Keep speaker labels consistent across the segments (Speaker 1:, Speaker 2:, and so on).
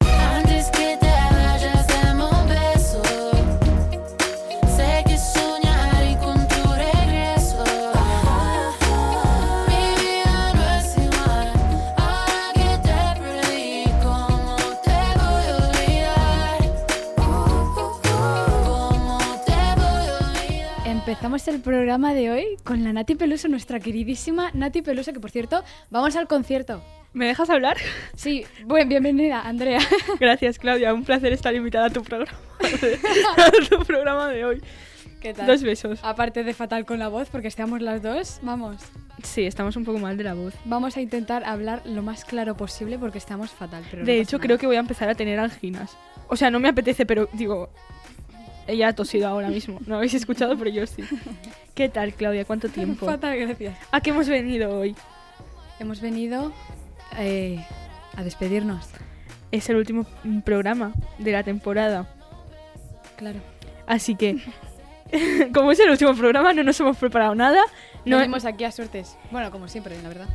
Speaker 1: Antes que te vayas dame un beso Sé que soñaré con tu regreso Mi vida no es igual Ahora que te perdí ¿Cómo te voy a olvidar? ¿Cómo te voy a olvidar?
Speaker 2: Empezamos el programa de hoy con la Nati Peluso, nuestra queridísima Nati Peluso, que por cierto, vamos al concierto.
Speaker 3: ¿Me dejas hablar?
Speaker 2: Sí, buen, bienvenida, Andrea.
Speaker 3: Gracias, Claudia. Un placer estar invitada a tu programa. a tu programa de hoy.
Speaker 2: ¿Qué
Speaker 3: Dos besos.
Speaker 2: Aparte de fatal con la voz, porque estamos las dos, vamos,
Speaker 3: Sí, estamos un poco mal de la voz.
Speaker 2: vamos a intentar hablar lo más claro posible porque estamos fatal. Pero
Speaker 3: De hecho, creo que voy a empezar a tener anginas. O sea, no me apetece, pero digo. Ella ha tosido ahora mismo. No habéis escuchado, pero yo sí. ¿Qué tal, Claudia? ¿Cuánto tiempo?
Speaker 2: Fatal, gracias.
Speaker 3: ¿A qué hemos venido hoy?
Speaker 2: Hemos venido eh, a despedirnos,
Speaker 3: Es el último mm, programa de la temporada.
Speaker 2: claro.
Speaker 3: Así que. Como es el último programa, no nos hemos preparado nada.
Speaker 2: No
Speaker 3: No, eh.
Speaker 2: venimos aquí a suertes. Bueno, como siempre, la verdad.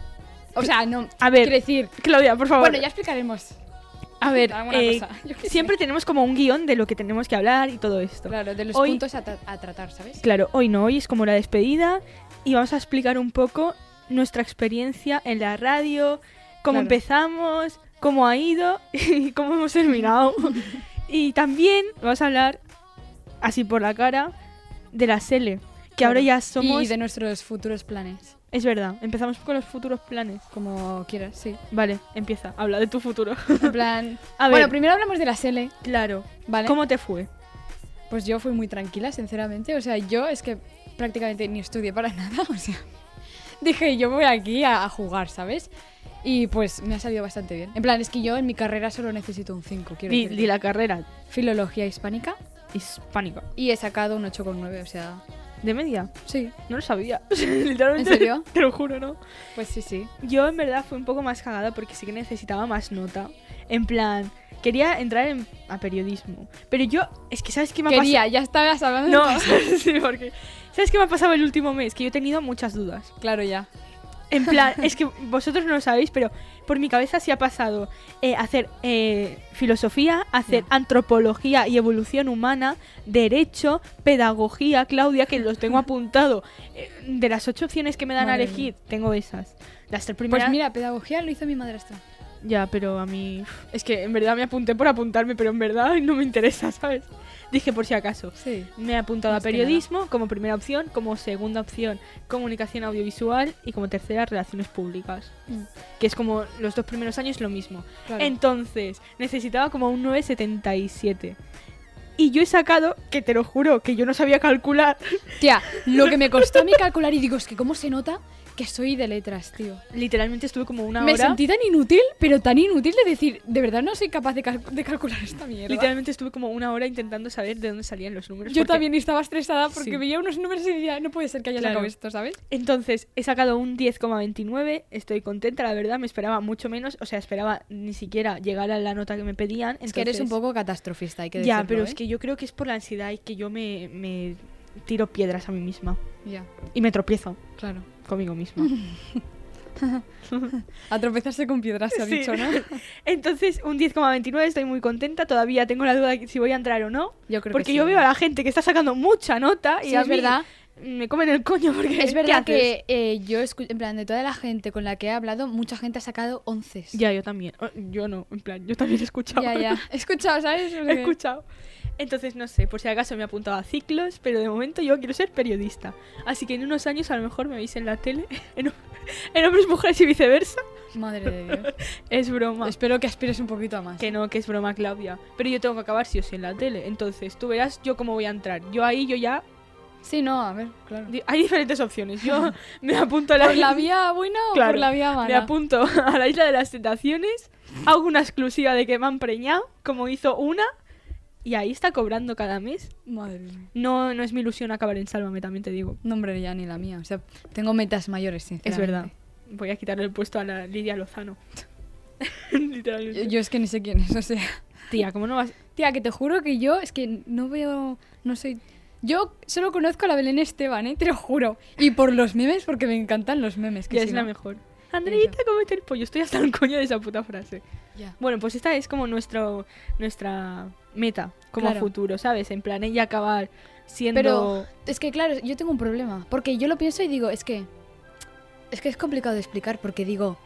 Speaker 2: O sea, no,
Speaker 3: A ver.
Speaker 2: quiero decir...
Speaker 3: Claudia, por favor.
Speaker 2: Bueno, ya explicaremos.
Speaker 3: A ver,
Speaker 2: Alguna
Speaker 3: eh,
Speaker 2: cosa, yo qué sé.
Speaker 3: siempre tenemos como un guión de lo que tenemos que hablar y todo esto.
Speaker 2: Claro, de los
Speaker 3: Hoy-
Speaker 2: puntos a, tra- a tratar, ¿sabes?
Speaker 3: Claro, hoy no, hoy es como la despedida y vamos a explicar un poco nuestra experiencia en la radio, cómo
Speaker 2: Claro.
Speaker 3: empezamos, cómo ha ido y cómo hemos terminado. y también vamos a hablar, así por la cara, de la Sele, que ahora
Speaker 2: Claro.
Speaker 3: ya somos...
Speaker 2: Y de nuestros futuros planes,
Speaker 3: Es verdad, empezamos con los futuros planes.
Speaker 2: como quieras, sí.
Speaker 3: Vale, empieza, habla de tu futuro.
Speaker 2: En plan...
Speaker 3: a ver,
Speaker 2: Bueno, primero hablamos de la SELE,
Speaker 3: claro,
Speaker 2: ¿vale?
Speaker 3: ¿cómo te fue?
Speaker 2: Pues yo fui muy tranquila, sinceramente. O sea, yo es que prácticamente ni estudié para nada, o sea... Dije, yo voy aquí a, a jugar, ¿sabes? Y pues me ha salido bastante bien. En plan, es que yo en mi carrera solo necesito un 5, quiero
Speaker 3: Di,
Speaker 2: decir.
Speaker 3: di la carrera
Speaker 2: Filología hispánica
Speaker 3: hispánica.
Speaker 2: y he sacado un 8,9, o sea...
Speaker 3: ¿De media?
Speaker 2: Sí,
Speaker 3: No lo sabía. Literalmente.
Speaker 2: ¿En serio?
Speaker 3: Te lo juro, ¿no?
Speaker 2: pues sí, sí.
Speaker 3: Yo en verdad fui un poco más cagada porque sí que necesitaba más nota. En plan, quería entrar en, a periodismo. Pero yo, es que ¿sabes qué me ha pasado?
Speaker 2: Quería, ya estabas hablando de...
Speaker 3: No, sí, porque... ¿Sabes qué me ha pasado el último mes? Que yo he tenido muchas dudas.
Speaker 2: Claro, ya. Pues
Speaker 3: En plan, es que vosotros no lo sabéis, pero por mi cabeza sí ha pasado eh, hacer eh, filosofía, hacer
Speaker 2: Ya.
Speaker 3: antropología y evolución humana, derecho, pedagogía, Claudia, que los tengo apuntado. Eh, de las ocho opciones que me dan a
Speaker 2: Madre
Speaker 3: elegir, tengo esas. Las tres primeras.
Speaker 2: Pues mira, pedagogía lo hizo mi madrastra.
Speaker 3: Ya, pero a mí. Es que en verdad me apunté por apuntarme, pero en verdad no me interesa, ¿sabes? Dije por si acaso.
Speaker 2: Sí.
Speaker 3: Me he apuntado
Speaker 2: Más
Speaker 3: a
Speaker 2: que
Speaker 3: periodismo como primera opción, como segunda opción comunicación audiovisual y como tercera relaciones públicas.
Speaker 2: Mm.
Speaker 3: Que es como los dos primeros años lo mismo.
Speaker 2: Claro.
Speaker 3: Entonces, necesitaba como un 977. Y yo he sacado, que te lo juro, que yo no sabía calcular.
Speaker 2: Tía, lo que me costó a mí calcular y digo, es que cómo se nota que soy de letras, tío.
Speaker 3: Literalmente estuve como una
Speaker 2: me
Speaker 3: hora.
Speaker 2: sentí tan inútil, pero tan inútil de decir, de verdad no soy capaz de, cal- de calcular esta mierda.
Speaker 3: Literalmente estuve como una hora intentando saber de dónde salían los números.
Speaker 2: Yo
Speaker 3: porque-
Speaker 2: también estaba estresada porque
Speaker 3: Sí.
Speaker 2: veía unos números y decía, no puede ser que haya
Speaker 3: Claro.
Speaker 2: sacado esto, ¿sabes?
Speaker 3: Entonces, he sacado un 10,29, estoy contenta, la verdad, me esperaba mucho menos, o sea, esperaba ni siquiera llegar a la nota que me pedían.
Speaker 2: Es que eres un
Speaker 3: entonces-
Speaker 2: poco catastrofista, hay que decirlo, ¿eh?
Speaker 3: Ya, pero es que yo creo que es por la ansiedad y que yo me, me tiro piedras a mí misma.
Speaker 2: Ya,
Speaker 3: Y me tropiezo
Speaker 2: claro.
Speaker 3: conmigo misma.
Speaker 2: A tropezarse con piedras se ha
Speaker 3: Sí.
Speaker 2: dicho, ¿no?
Speaker 3: Entonces, un 10,29, estoy muy contenta, todavía tengo la duda de si voy a entrar o no.
Speaker 2: Yo creo
Speaker 3: porque
Speaker 2: que
Speaker 3: yo
Speaker 2: sí.
Speaker 3: veo a la gente que está sacando mucha nota y
Speaker 2: Sí,
Speaker 3: a
Speaker 2: es
Speaker 3: mí
Speaker 2: verdad.
Speaker 3: me comen el coño porque
Speaker 2: Es
Speaker 3: ¿qué
Speaker 2: verdad
Speaker 3: haces?
Speaker 2: que eh, yo, escu- en plan, de toda la gente con la que he hablado, mucha gente ha sacado 11.
Speaker 3: Ya, yo también. Oh, Yo no, en plan, yo también he
Speaker 2: ya,
Speaker 3: escuchado.
Speaker 2: ya. He escuchado, ¿sabes?
Speaker 3: He escuchado. Entonces, no sé, por si acaso me he apuntado a ciclos, pero de momento yo quiero ser periodista. Así que en unos años a lo mejor me veis en la tele, en, en hombres, mujeres y viceversa.
Speaker 2: Madre de Dios.
Speaker 3: Es broma.
Speaker 2: Espero que aspires un poquito a más.
Speaker 3: Que no, que es broma, Claudia. Pero yo tengo que acabar sí o sí en la tele. Entonces, tú verás yo cómo voy a entrar. Yo ahí, yo ya...
Speaker 2: Sí, no, a ver, claro.
Speaker 3: di- Hay diferentes opciones. Yo me apunto a la...
Speaker 2: ¿Por la vía buena o
Speaker 3: Claro,
Speaker 2: por la vía
Speaker 3: Me
Speaker 2: mala?
Speaker 3: apunto a la isla de las tentaciones, hago una exclusiva de que me han preñado, como hizo una, y ahí está cobrando cada mes.
Speaker 2: Madre mía.
Speaker 3: No, no es mi ilusión acabar en Sálvame, también te digo.
Speaker 2: No, hombre, ya ni la mía. O sea, tengo metas mayores,
Speaker 3: Es
Speaker 2: sinceramente.
Speaker 3: verdad. Voy a quitarle el puesto a la Lidia Lozano. Literalmente.
Speaker 2: Yo, yo es que ni sé quién es, o sea.
Speaker 3: Tía, ¿cómo no vas?
Speaker 2: Tía, que te juro que yo es que no veo. No soy. Yo solo conozco a la Belén Esteban, ¿eh? Te lo juro. Y por los memes, porque me encantan los memes. Que
Speaker 3: Ya
Speaker 2: si
Speaker 3: es la
Speaker 2: no-
Speaker 3: mejor. Andreita, comete el pollo. Estoy hasta el coño de esa puta frase.
Speaker 2: Ya.
Speaker 3: Bueno, pues esta es como nuestro, nuestra meta, como
Speaker 2: Claro.
Speaker 3: futuro, ¿sabes? En plan, ella acabar siendo...
Speaker 2: Pero es que, claro, yo tengo un problema. Porque yo lo pienso y digo, es que. Es que es complicado de explicar, porque digo.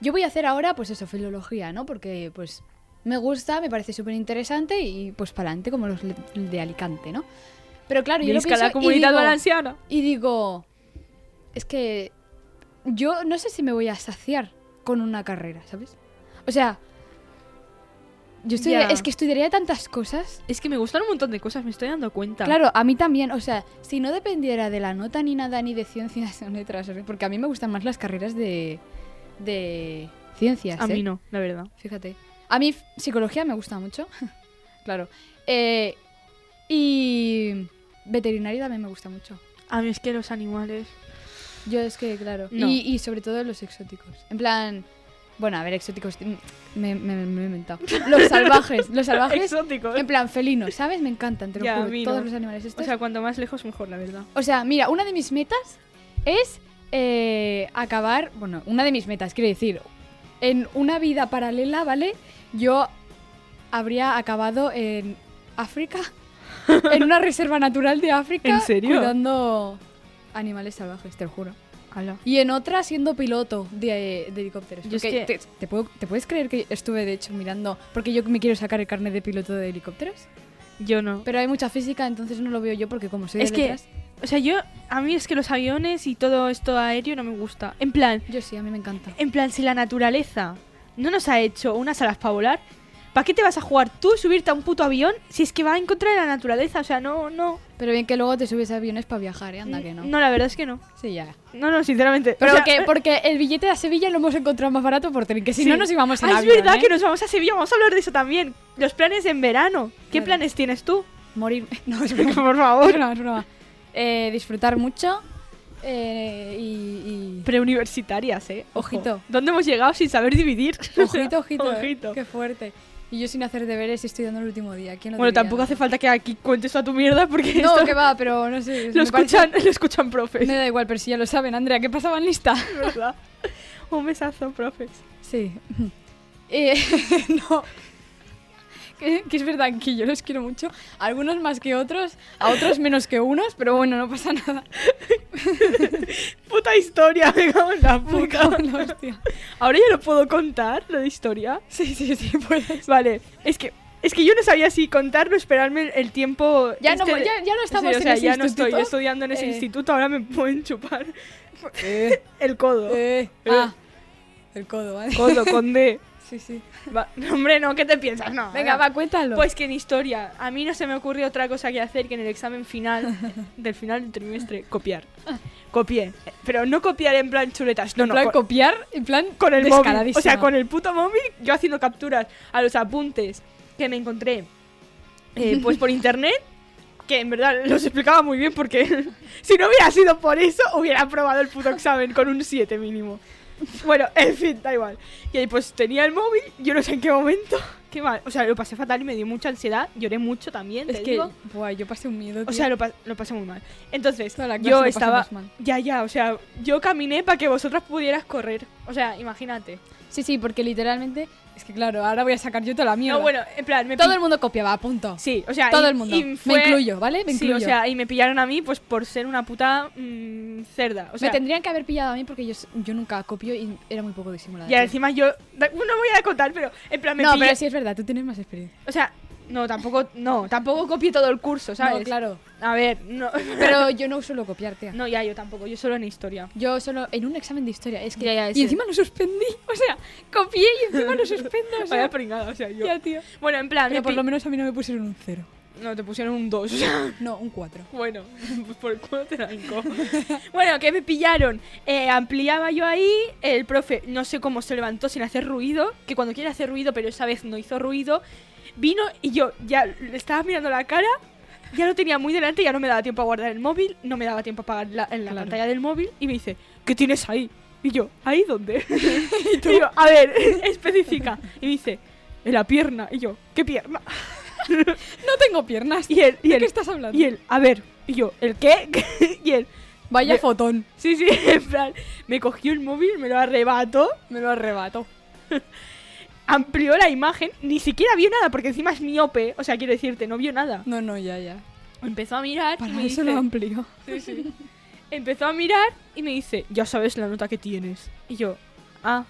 Speaker 2: Yo voy a hacer ahora, pues eso, filología, ¿no? Porque, pues. Me gusta, me parece súper interesante y, pues, para adelante, como los le- de Alicante, ¿no? Pero claro, yo lo
Speaker 3: Visca
Speaker 2: pienso
Speaker 3: la comunidad
Speaker 2: y digo,
Speaker 3: valenciana.
Speaker 2: Y digo, es que yo no sé si me voy a saciar con una carrera, ¿sabes? O sea, yo estudiaría-
Speaker 3: Ya.
Speaker 2: es que estudiaría tantas cosas.
Speaker 3: Es que me gustan un montón de cosas, me estoy dando cuenta.
Speaker 2: Claro, a mí también, o sea, si no dependiera de la nota ni nada, ni de ciencias o letras, o sea, porque a mí me gustan más las carreras de, de ciencias.
Speaker 3: A
Speaker 2: ¿eh?
Speaker 3: mí no, la verdad.
Speaker 2: Fíjate. A mí f- psicología me gusta mucho, claro. Eh, y veterinaria también me gusta mucho.
Speaker 3: A mí es que los animales...
Speaker 2: Yo es que, claro.
Speaker 3: No.
Speaker 2: Y, y sobre todo los exóticos. En plan. Bueno, a ver, exóticos. mm, Me, me, me he inventado. Los salvajes. Los salvajes.
Speaker 3: Exóticos.
Speaker 2: en plan, felinos, ¿sabes? Me encantan, te lo
Speaker 3: Ya, a
Speaker 2: juro.
Speaker 3: mí
Speaker 2: Todos
Speaker 3: no.
Speaker 2: los animales
Speaker 3: O
Speaker 2: estos.
Speaker 3: sea, cuanto más lejos mejor, la verdad.
Speaker 2: mira, una de mis metas es eh, acabar. Bueno, una de mis metas, quiero decir. En una vida paralela, ¿vale? Yo habría acabado en África. En una reserva natural de África.
Speaker 3: ¿En serio?
Speaker 2: Cuidando animales salvajes, te lo juro.
Speaker 3: Ala.
Speaker 2: Y en otra siendo piloto de, de helicópteros.
Speaker 3: Yo es
Speaker 2: Porque
Speaker 3: que-
Speaker 2: te, te puedo- ¿te puedes creer que estuve, de hecho, mirando? Porque yo me quiero sacar el carnet de piloto de helicópteros.
Speaker 3: Yo no.
Speaker 2: Pero hay mucha física, entonces no lo veo yo porque como soy de
Speaker 3: Es que-
Speaker 2: letras-
Speaker 3: O sea, yo... A mí es que los aviones y todo esto aéreo no me gusta. En plan,
Speaker 2: Yo sí, a mí me encanta.
Speaker 3: en plan, si la naturaleza no nos ha hecho unas alas para volar, ¿para qué te vas a jugar tú subirte a un puto avión si es que va en contra de la naturaleza? O sea, no, no.
Speaker 2: Pero bien que luego te subes a aviones para viajar, ¿eh? Anda que no.
Speaker 3: No, la verdad es que no.
Speaker 2: Sí, ya.
Speaker 3: No, no, sinceramente.
Speaker 2: Pero
Speaker 3: O sea,
Speaker 2: que, porque el billete a Sevilla lo hemos encontrado más barato por tren, que si
Speaker 3: sí.
Speaker 2: no nos íbamos en
Speaker 3: Ah,
Speaker 2: avión,
Speaker 3: Es verdad
Speaker 2: ¿eh?
Speaker 3: que nos vamos a Sevilla, vamos a hablar de eso también. Los planes en verano. ¿Qué
Speaker 2: Claro.
Speaker 3: planes tienes tú?
Speaker 2: Morir... No, es broma.
Speaker 3: Por
Speaker 2: Es
Speaker 3: favor.
Speaker 2: broma, es broma. Eh, disfrutar mucho eh, y- y...
Speaker 3: Preuniversitarias, eh. Ojo.
Speaker 2: Ojito.
Speaker 3: ¿Dónde hemos llegado sin saber dividir?
Speaker 2: Ojito, ojito. eh.
Speaker 3: Ojito.
Speaker 2: Qué fuerte. Y yo sin hacer deberes y estudiando el último día. ¿Quién lo
Speaker 3: Bueno,
Speaker 2: diría,
Speaker 3: tampoco
Speaker 2: no?
Speaker 3: hace falta que aquí cuentes toda tu mierda porque
Speaker 2: No,
Speaker 3: esto
Speaker 2: que va, pero no sé.
Speaker 3: lo
Speaker 2: me parece-
Speaker 3: escuchan, lo escuchan profes.
Speaker 2: Me da igual, pero si ya lo saben, Andrea, ¿qué pasaba en lista?
Speaker 3: ¿verdad? Un besazo, profes.
Speaker 2: Sí. Eh, no. Que, que es verdad que yo los quiero mucho. Algunos más que otros, a otros menos que unos, pero bueno, no pasa nada.
Speaker 3: Puta historia, me cago en la
Speaker 2: Me
Speaker 3: puta.
Speaker 2: cago en la hostia.
Speaker 3: Ahora ya lo puedo contar, lo de historia.
Speaker 2: Sí, sí, sí, puedes.
Speaker 3: Vale, es que es que yo no sabía si contarlo, esperarme el tiempo.
Speaker 2: Ya,
Speaker 3: este
Speaker 2: no,
Speaker 3: de-
Speaker 2: ya, ya no estamos
Speaker 3: Sí, o sea,
Speaker 2: en ese
Speaker 3: ya no
Speaker 2: instituto.
Speaker 3: estoy estudiando en ese
Speaker 2: Eh.
Speaker 3: instituto, ahora me pueden chupar
Speaker 2: Eh,
Speaker 3: el codo.
Speaker 2: eh, ah, el codo, ¿vale?
Speaker 3: Codo con D.
Speaker 2: Sí, sí.
Speaker 3: Va- hombre, no, ¿qué te piensas? No.
Speaker 2: Venga, va, cuéntalo.
Speaker 3: Ah. Pues que en historia, a mí no se me ocurrió otra cosa que hacer que en el examen final, del final del trimestre, copiar. Copié. Pero no copiar en plan chuletas, no,
Speaker 2: en
Speaker 3: no.
Speaker 2: plan
Speaker 3: co-
Speaker 2: copiar, en plan
Speaker 3: con el móvil. O sea,
Speaker 2: descaradísima.
Speaker 3: con el puto móvil, yo haciendo capturas a los apuntes que me encontré eh, pues por internet, que en verdad los explicaba muy bien porque si no hubiera sido por eso, hubiera aprobado el puto examen con un 7 mínimo. Bueno, en fin, da igual. Y ahí pues tenía el móvil, yo no sé en qué momento. Qué mal. O sea, lo pasé fatal y me dio mucha ansiedad. Lloré mucho también,
Speaker 2: Es
Speaker 3: te
Speaker 2: que,
Speaker 3: digo.
Speaker 2: buah, yo pasé un miedo.
Speaker 3: O
Speaker 2: tío.
Speaker 3: sea, lo, pa- lo pasé muy mal. Entonces,
Speaker 2: Toda la clase
Speaker 3: yo
Speaker 2: lo
Speaker 3: estaba...
Speaker 2: pasamos mal.
Speaker 3: Ya, ya, o sea, yo caminé para que vosotras pudieras correr. O sea, imagínate.
Speaker 2: Sí, sí, porque literalmente. Es que claro, ahora voy a sacar yo toda la mierda.
Speaker 3: No, bueno, en plan, me
Speaker 2: Todo
Speaker 3: pi-
Speaker 2: el mundo copiaba, a punto.
Speaker 3: Sí, o sea,
Speaker 2: Todo
Speaker 3: y-
Speaker 2: el mundo.
Speaker 3: y
Speaker 2: Me
Speaker 3: fue-
Speaker 2: incluyo, ¿vale? Me
Speaker 3: sí,
Speaker 2: incluyo.
Speaker 3: o sea, y me pillaron a mí pues por ser una puta mm, cerda, o sea,
Speaker 2: me tendrían que haber pillado a mí porque yo, s- yo nunca copio y era muy poco disimulada.
Speaker 3: y ahora
Speaker 2: tío.
Speaker 3: encima yo da- no voy a contar, pero en plan me
Speaker 2: no,
Speaker 3: pillé-
Speaker 2: pero sí es verdad, tú tienes más experiencia.
Speaker 3: o sea, no, tampoco no, tampoco copié todo el curso, ¿sabes?
Speaker 2: No, claro.
Speaker 3: A ver, no
Speaker 2: Pero yo no suelo copiar, tía.
Speaker 3: no, ya yo tampoco, yo solo en historia.
Speaker 2: Yo solo en un examen de historia. Es que,
Speaker 3: Ya, ya,
Speaker 2: y
Speaker 3: sí.
Speaker 2: encima lo suspendí. O sea, copié y encima lo suspendo. O sea,
Speaker 3: Vaya pringada, o sea, yo.
Speaker 2: ya, tío.
Speaker 3: Bueno, en plan,
Speaker 2: Pero
Speaker 3: me
Speaker 2: por
Speaker 3: pi-
Speaker 2: lo menos a mí no me pusieron un cero.
Speaker 3: no te pusieron un 2, o sea,
Speaker 2: No, un cuatro.
Speaker 3: Bueno, pues por el culo te la hinco. bueno, que me pillaron. Eh, ampliaba yo ahí. El profe, no sé cómo se levantó sin hacer ruido. Que cuando quiere hacer ruido, pero esa vez no hizo ruido. Vino y yo ya le estaba mirando la cara. Ya lo tenía muy delante, ya no me daba tiempo a guardar el móvil. No me daba tiempo a apagar la, en la
Speaker 2: Claro.
Speaker 3: pantalla del móvil. Y me dice, ¿qué tienes ahí? Y yo, ¿ahí dónde? y yo, a ver, especifica. Y me dice, en la pierna. Y yo, ¿qué pierna?
Speaker 2: No tengo piernas.
Speaker 3: Y él, y
Speaker 2: ¿De
Speaker 3: él,
Speaker 2: qué estás hablando?
Speaker 3: y él, a ver. Y yo, ¿el qué? y él,
Speaker 2: Vaya
Speaker 3: de-
Speaker 2: fotón.
Speaker 3: sí, sí, en plan, me cogió el móvil, me lo arrebató,
Speaker 2: Me lo arrebato.
Speaker 3: amplió la imagen, ni siquiera vio nada porque encima es miope. O sea, quiero decirte, no vio nada.
Speaker 2: No, no, ya, ya.
Speaker 3: Empezó a mirar. y
Speaker 2: Para
Speaker 3: me
Speaker 2: eso
Speaker 3: dice-
Speaker 2: lo amplío.
Speaker 3: Sí, sí. Empezó a mirar y me dice, ya sabes la nota que tienes. Y yo, ah.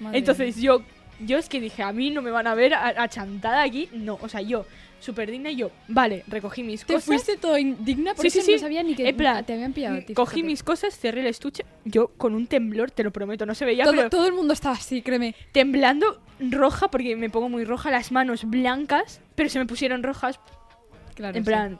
Speaker 2: Madre
Speaker 3: Entonces yo, yo es que dije, a mí no me van a ver a- achantada aquí. No, o sea, yo, súper digna, y yo, vale, recogí mis
Speaker 2: Te
Speaker 3: cosas.
Speaker 2: fuiste todo indigna porque
Speaker 3: Sí, sí,
Speaker 2: eso no
Speaker 3: sí.
Speaker 2: sabía ni que
Speaker 3: En plan,
Speaker 2: te habían pillado. a ti,
Speaker 3: Cogí
Speaker 2: fíjate.
Speaker 3: mis cosas, cerré el estuche. Yo con un temblor, te lo prometo, no se veía,
Speaker 2: Todo,
Speaker 3: pero
Speaker 2: todo el mundo estaba así, créeme.
Speaker 3: temblando roja, porque me pongo muy roja, las manos blancas, pero se me pusieron rojas,
Speaker 2: Claro,
Speaker 3: en
Speaker 2: sí.
Speaker 3: plan.